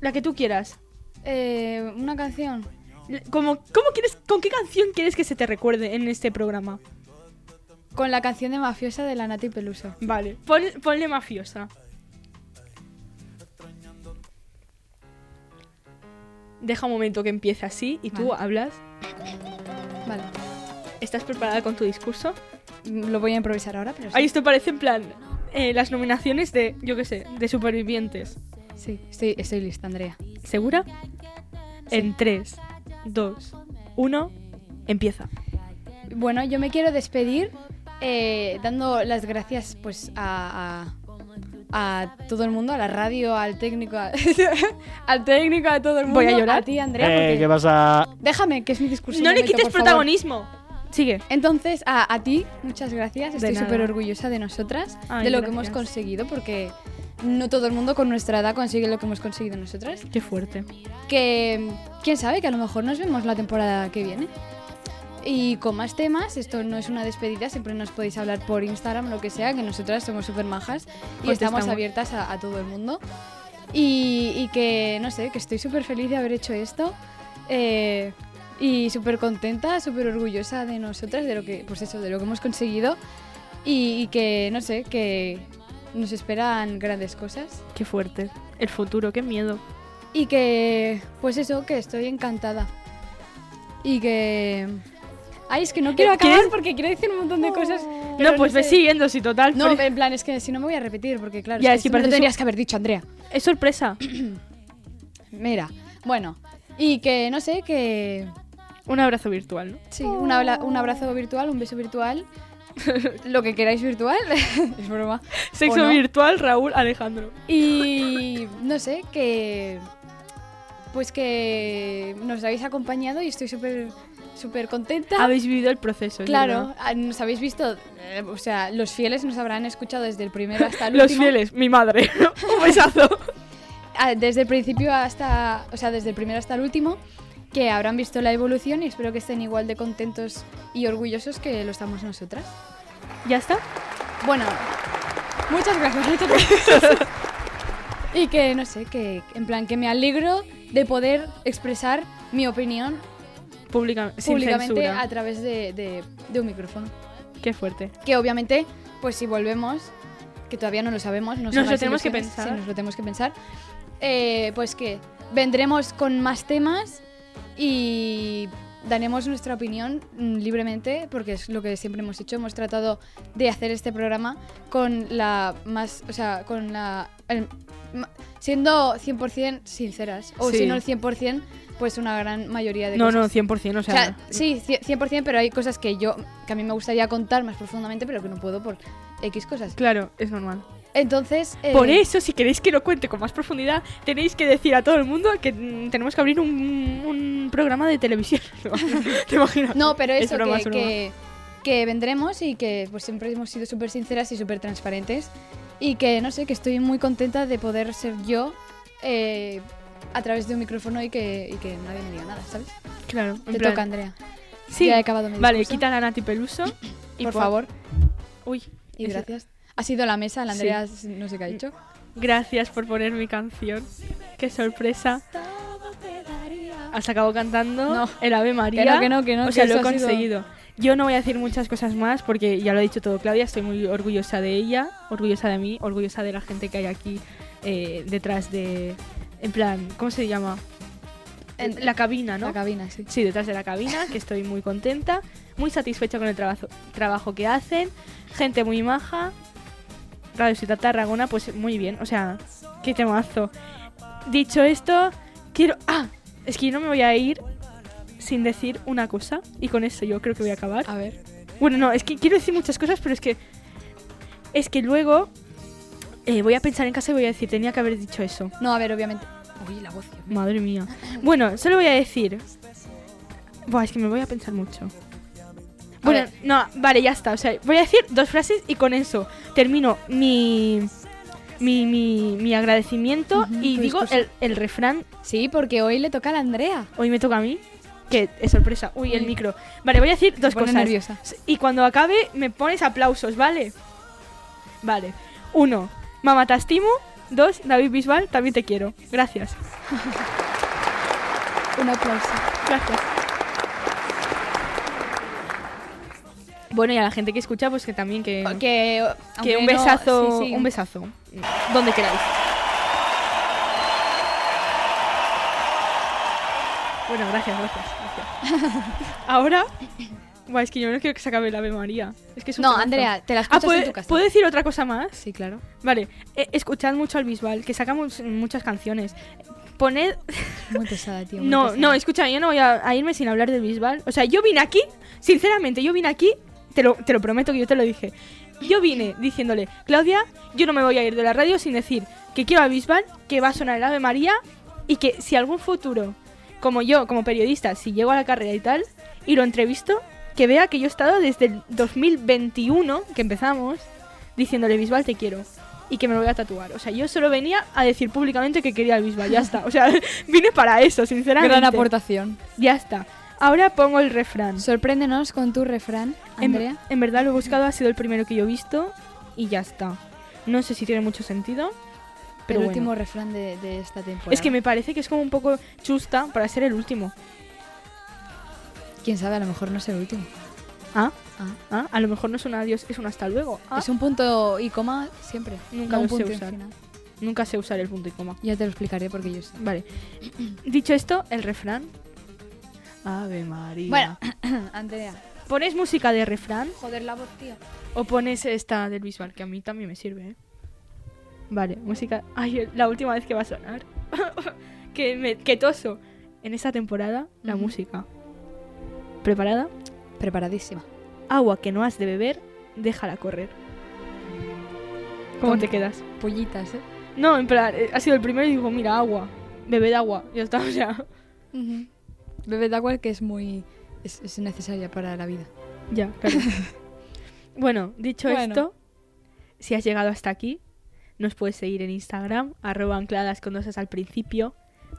Speaker 3: la que tú quieras.
Speaker 2: Eh, una canción.
Speaker 3: L- Como, ¿cómo quieres, ¿Con qué canción quieres que se te recuerde en este programa?
Speaker 2: Con la canción de mafiosa de la Nati Peluso.
Speaker 3: Vale, pon, ponle mafiosa. Deja un momento que empiece así y tú
Speaker 2: Vale.
Speaker 3: hablas.
Speaker 2: Vale.
Speaker 3: ¿Estás preparada con tu discurso?
Speaker 2: Mm, Lo voy a improvisar ahora, pero sí.
Speaker 3: Ahí esto parece en plan eh, las nominaciones de, yo qué sé, de supervivientes.
Speaker 2: Sí, estoy, estoy lista, Andrea.
Speaker 3: ¿Segura? En 3, 2, 1, empieza.
Speaker 2: Bueno, yo me quiero despedir eh, dando las gracias pues a, a- a todo el mundo, a la radio, al técnico, a- al técnico, a todo el mundo.
Speaker 3: Voy a llorar.
Speaker 2: A ti, Andrea.
Speaker 4: Eh,
Speaker 2: porque-
Speaker 4: ¿Qué pasa?
Speaker 2: Déjame, que es mi discurso.
Speaker 3: No
Speaker 2: un
Speaker 3: le
Speaker 2: momento,
Speaker 3: quites
Speaker 2: por favor.
Speaker 3: protagonismo. Sigue.
Speaker 2: Entonces, a, a ti, muchas gracias. Estoy
Speaker 3: nada.
Speaker 2: súper orgullosa de nosotras,
Speaker 3: Ay,
Speaker 2: de lo que
Speaker 3: gracias.
Speaker 2: hemos conseguido, porque no todo el mundo con nuestra edad consigue lo que hemos conseguido nosotras.
Speaker 3: Qué fuerte.
Speaker 2: que quién sabe que a lo mejor nos vemos la temporada que viene y con más temas esto no es una despedida siempre nos podéis hablar por Instagram lo que sea que nosotras somos súper majas y
Speaker 3: Contestamos.
Speaker 2: estamos abiertas a, a todo el mundo y, y que no sé que estoy súper feliz de haber hecho esto eh, y súper contenta súper orgullosa de nosotras de lo que pues eso de lo que hemos conseguido y, y que no sé que nos esperan grandes cosas
Speaker 3: Qué fuerte. El futuro, qué miedo.
Speaker 2: y que, pues eso, que estoy encantada. Y que... Ay, es que no quiero
Speaker 3: Eh,
Speaker 2: acabar
Speaker 3: ¿quieres?
Speaker 2: porque quiero decir un montón de cosas. pero
Speaker 3: No, pues ve
Speaker 2: sé.
Speaker 3: siguiendo, si total.
Speaker 2: No,
Speaker 3: pues-
Speaker 2: en plan, es que si no me voy a repetir porque, claro,
Speaker 3: Ya,
Speaker 2: es que,
Speaker 3: es que
Speaker 2: esto me lo
Speaker 3: parece su-
Speaker 2: tendrías que haber dicho, Andrea.
Speaker 3: Es sorpresa.
Speaker 2: Mira, bueno. Y que, no sé, que...
Speaker 3: Un abrazo virtual, ¿no?
Speaker 2: Sí, un, habla- un abrazo virtual, un beso virtual. lo que queráis virtual. es broma.
Speaker 3: Sexo
Speaker 2: ¿O no?
Speaker 3: virtual, Raúl Alejandro.
Speaker 2: Y no sé, que. Pues que nos habéis acompañado y estoy súper súper contenta.
Speaker 3: Habéis vivido el proceso. es
Speaker 2: claro,
Speaker 3: verdad.
Speaker 2: ah, nos habéis visto, eh, o sea, los fieles nos habrán escuchado desde el primero hasta el
Speaker 3: Los
Speaker 2: último.
Speaker 3: fieles, mi madre. Un besazo.
Speaker 2: Ah, Desde el principio hasta, o sea, desde el primero hasta el último, que habrán visto la evolución y espero que estén igual de contentos y orgullosos que lo estamos nosotras.
Speaker 3: ¿Ya está?
Speaker 2: Bueno, muchas gracias, muchas gracias. y que, no sé, que en plan, que me alegro de poder expresar mi opinión
Speaker 3: Pública, sin
Speaker 2: públicamente
Speaker 3: censura.
Speaker 2: a través de, de- de un micrófono.
Speaker 3: Qué fuerte.
Speaker 2: Que obviamente, pues si volvemos, que todavía no lo sabemos, no
Speaker 3: Nos
Speaker 2: se
Speaker 3: lo
Speaker 2: hagáis
Speaker 3: tenemos que
Speaker 2: ilusiones,
Speaker 3: pensar.
Speaker 2: sí, nos lo tenemos que pensar. eh, pues que vendremos con más temas y daremos nuestra opinión mm, libremente, porque es lo que siempre hemos hecho. Hemos tratado de hacer este programa con la más, o sea, con la... el- ma- siendo 100% sinceras, o
Speaker 3: Sí.
Speaker 2: si no el 100%, pues una gran mayoría de
Speaker 3: No,
Speaker 2: cosas.
Speaker 3: no, 100%, o
Speaker 2: O
Speaker 3: sea.
Speaker 2: sea, sí, cie- 100%, pero hay cosas que yo, que a mí me gustaría contar más profundamente, pero que no puedo por X cosas.
Speaker 3: Claro, es normal.
Speaker 2: Entonces... eh,
Speaker 3: Por eso, si queréis que lo cuente con más profundidad, tenéis que decir a todo el mundo que mm, tenemos que abrir un, un programa de televisión. ¿Te imaginas?
Speaker 2: No, pero
Speaker 3: Es
Speaker 2: eso,
Speaker 3: broma,
Speaker 2: que,
Speaker 3: es broma.
Speaker 2: que, que vendremos y que pues siempre hemos sido súper sinceras y súper transparentes. Y que, no sé, que estoy muy contenta de poder ser yo eh, a través de un micrófono y que, y que nadie me diga nada, ¿sabes?
Speaker 3: Claro, en
Speaker 2: Te
Speaker 3: plan-
Speaker 2: toca, Andrea.
Speaker 3: Sí.
Speaker 2: Ya he acabado mi
Speaker 3: Vale,
Speaker 2: discurso.
Speaker 3: quita la Nati Peluso. y
Speaker 2: Por
Speaker 3: pon-
Speaker 2: favor,
Speaker 3: Uy,
Speaker 2: y
Speaker 3: eso.
Speaker 2: gracias. Ha sido la mesa, la
Speaker 3: Sí.
Speaker 2: Andrea no sé qué ha dicho.
Speaker 3: Gracias por poner mi canción. Qué sorpresa. Has acabado cantando
Speaker 2: No.
Speaker 3: el Ave
Speaker 2: Que
Speaker 3: María.
Speaker 2: no, que no, que no.
Speaker 3: o
Speaker 2: que
Speaker 3: sea, lo
Speaker 2: eso
Speaker 3: he
Speaker 2: ha sido-
Speaker 3: conseguido. Yo no voy a decir muchas cosas más porque ya lo ha dicho todo Claudia. Estoy muy orgullosa de ella, orgullosa de mí, orgullosa de la gente que hay aquí eh, detrás de. En plan, ¿cómo se llama? En la cabina, ¿no?
Speaker 2: La cabina, sí.
Speaker 3: Sí, detrás de la cabina, que estoy muy contenta, muy satisfecha con el trabajo, trabajo que hacen, gente muy maja. Radio Ciudad Tarragona, pues muy bien, o sea, qué temazo. Dicho esto, quiero. ¡Ah! Es que yo no me voy a ir sin decir una cosa, y con eso yo creo que voy a acabar.
Speaker 2: A ver.
Speaker 3: Bueno, no, es que quiero decir muchas cosas, pero es que. Es que luego. eh, voy a pensar en casa y voy a decir, tenía que haber dicho eso.
Speaker 2: No, a ver, obviamente. Uy, la voz. Dios mío.
Speaker 3: Madre mía. Bueno, solo voy a decir. Buah, es que me voy a pensar mucho. Bueno,
Speaker 2: ver.
Speaker 3: no, vale, ya está. O sea, voy a decir dos frases y con eso termino mi. Mi, mi, mi agradecimiento
Speaker 2: Ujú,
Speaker 3: y
Speaker 2: tu
Speaker 3: digo
Speaker 2: discurso.
Speaker 3: el, el refrán.
Speaker 2: Sí, porque hoy le toca a la Andrea.
Speaker 3: Hoy me toca a mí. Que es sorpresa. Uy, el
Speaker 2: Uy.
Speaker 3: micro. Vale, voy a decir dos
Speaker 2: pone
Speaker 3: cosas.
Speaker 2: nerviosa.
Speaker 3: Y cuando acabe, me pones aplausos, ¿vale? Vale. Uno, mamá, te estimo. Dos, David Bisbal, también te quiero. Gracias.
Speaker 2: Un aplauso.
Speaker 3: Gracias. Bueno, y a la gente que escucha, pues que también que,
Speaker 2: Ah, Que,
Speaker 3: que
Speaker 2: aunque
Speaker 3: un
Speaker 2: no-
Speaker 3: besazo,
Speaker 2: sí, sí.
Speaker 3: un besazo, donde queráis. Bueno, gracias, gracias. gracias. Ahora, Buah, es que yo no quiero que se acabe la Ave María. Es que es un
Speaker 2: No,
Speaker 3: temazo.
Speaker 2: Andrea, te la
Speaker 3: Ah,
Speaker 2: escuchas
Speaker 3: ¿puedo,
Speaker 2: en tu casa.
Speaker 3: ¿puedo decir otra cosa más?
Speaker 2: Sí, claro.
Speaker 3: Vale, eh, escuchad mucho al Bisbal, que saca mu- muchas canciones. Poned
Speaker 2: Muy pesada, tío. muy
Speaker 3: No,
Speaker 2: pesada.
Speaker 3: no, escucha, yo no voy a, a irme sin hablar del Bisbal. O sea, yo vine aquí, sinceramente, yo vine aquí, te lo, te lo prometo que yo te lo dije. Yo vine diciéndole, Claudia, yo no me voy a ir de la radio sin decir que quiero a Bisbal, que va a sonar el Ave María y que si algún futuro, como yo, como periodista, si llego a la carrera y tal, y lo entrevisto, que vea que yo he estado desde el 2021, que empezamos, diciéndole, Bisbal, te quiero. Y que me lo voy a tatuar. O sea, yo solo venía a decir públicamente que quería al Bisbal. Ya está. O sea, vine para eso, sinceramente.
Speaker 2: Gran aportación.
Speaker 3: Ya está. Ahora pongo el refrán.
Speaker 2: Sorpréndenos con tu refrán,
Speaker 3: En,
Speaker 2: Andrea.
Speaker 3: en verdad lo he buscado, ha sido el primero que yo he visto y ya está. No sé si tiene mucho sentido, pero
Speaker 2: el
Speaker 3: bueno.
Speaker 2: último refrán de, de esta temporada.
Speaker 3: Es que me parece que es como un poco chusta para ser el último.
Speaker 2: Quién sabe, a lo mejor no es el último.
Speaker 3: Ah,
Speaker 2: Ah.
Speaker 3: ah, a lo mejor no es un adiós, es un hasta luego. Ah,
Speaker 2: Es un punto y coma siempre.
Speaker 3: Nunca
Speaker 2: No un
Speaker 3: lo sé
Speaker 2: punto y
Speaker 3: usar.
Speaker 2: final.
Speaker 3: Nunca sé usar el punto y coma.
Speaker 2: Ya te lo explicaré porque yo sé.
Speaker 3: Vale. Dicho esto, el refrán. Ave María.
Speaker 2: Bueno, Andrea.
Speaker 3: ¿pones música de refrán
Speaker 2: Joder la voz, tío.
Speaker 3: o pones esta del visual? Que a mí también me sirve, ¿eh? Vale, música. Ay, el- la última vez que va a sonar. que, me, que toso. En esta temporada, la
Speaker 2: Ujú.
Speaker 3: música. ¿Preparada?
Speaker 2: Preparadísima.
Speaker 3: Agua que no has de beber, déjala correr. ¿Cómo
Speaker 2: Con-
Speaker 3: te quedas?
Speaker 2: Pollitas, ¿eh?
Speaker 3: No, en plan, eh, ha sido el primero y digo, mira, agua. Bebed agua. Ya está, o sea.
Speaker 2: Bebed agua que es muy. Es, es necesaria para la vida.
Speaker 3: Ya, claro. bueno, dicho
Speaker 2: Bueno.
Speaker 3: esto, si has llegado hasta aquí, nos puedes seguir en Instagram, arroba ancladas con dosas al principio,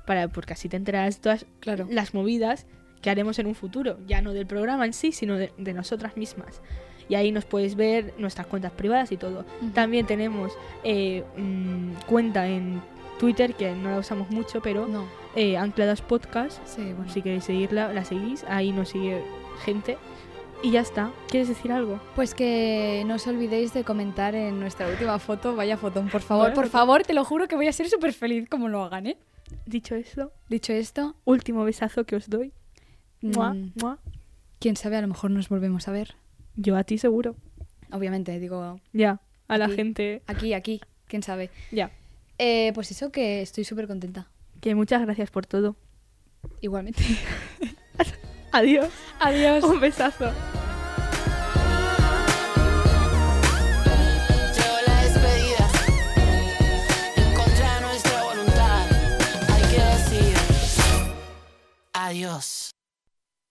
Speaker 3: para, porque así te enterarás de todas
Speaker 2: Claro.
Speaker 3: las movidas que haremos en un futuro, ya no del programa en sí, sino de, de nosotras mismas. Y ahí nos puedes ver nuestras cuentas privadas y todo. También tenemos eh, mm, cuenta en Twitter, que no la usamos mucho, pero
Speaker 2: No,
Speaker 3: eh, ancladas podcast.
Speaker 2: sí, bueno.
Speaker 3: Si queréis seguirla, la seguís. Ahí nos sigue gente. Y ya está. ¿Quieres decir algo?
Speaker 2: Pues que no os olvidéis de comentar en nuestra última foto. Vaya fotón, por favor.
Speaker 3: Vaya
Speaker 2: Por
Speaker 3: fotón.
Speaker 2: favor, te lo juro que voy a ser súper feliz como lo hagan, ¿eh?
Speaker 3: Dicho esto,
Speaker 2: Dicho esto,
Speaker 3: último besazo que os doy. Mua,
Speaker 2: mm,
Speaker 3: mua.
Speaker 2: quién sabe, a lo mejor nos volvemos a ver.
Speaker 3: Yo a ti seguro.
Speaker 2: Obviamente, digo,
Speaker 3: Ya. A la
Speaker 2: ti.
Speaker 3: gente.
Speaker 2: aquí, aquí, quién sabe.
Speaker 3: Ya.
Speaker 2: Eh, pues eso, que estoy súper contenta.
Speaker 3: Que muchas gracias por todo.
Speaker 2: Igualmente.
Speaker 3: Adiós.
Speaker 2: Adiós.
Speaker 3: Un besazo.
Speaker 1: Yo la despedida, en contra de nuestra voluntad, hay que decir adiós.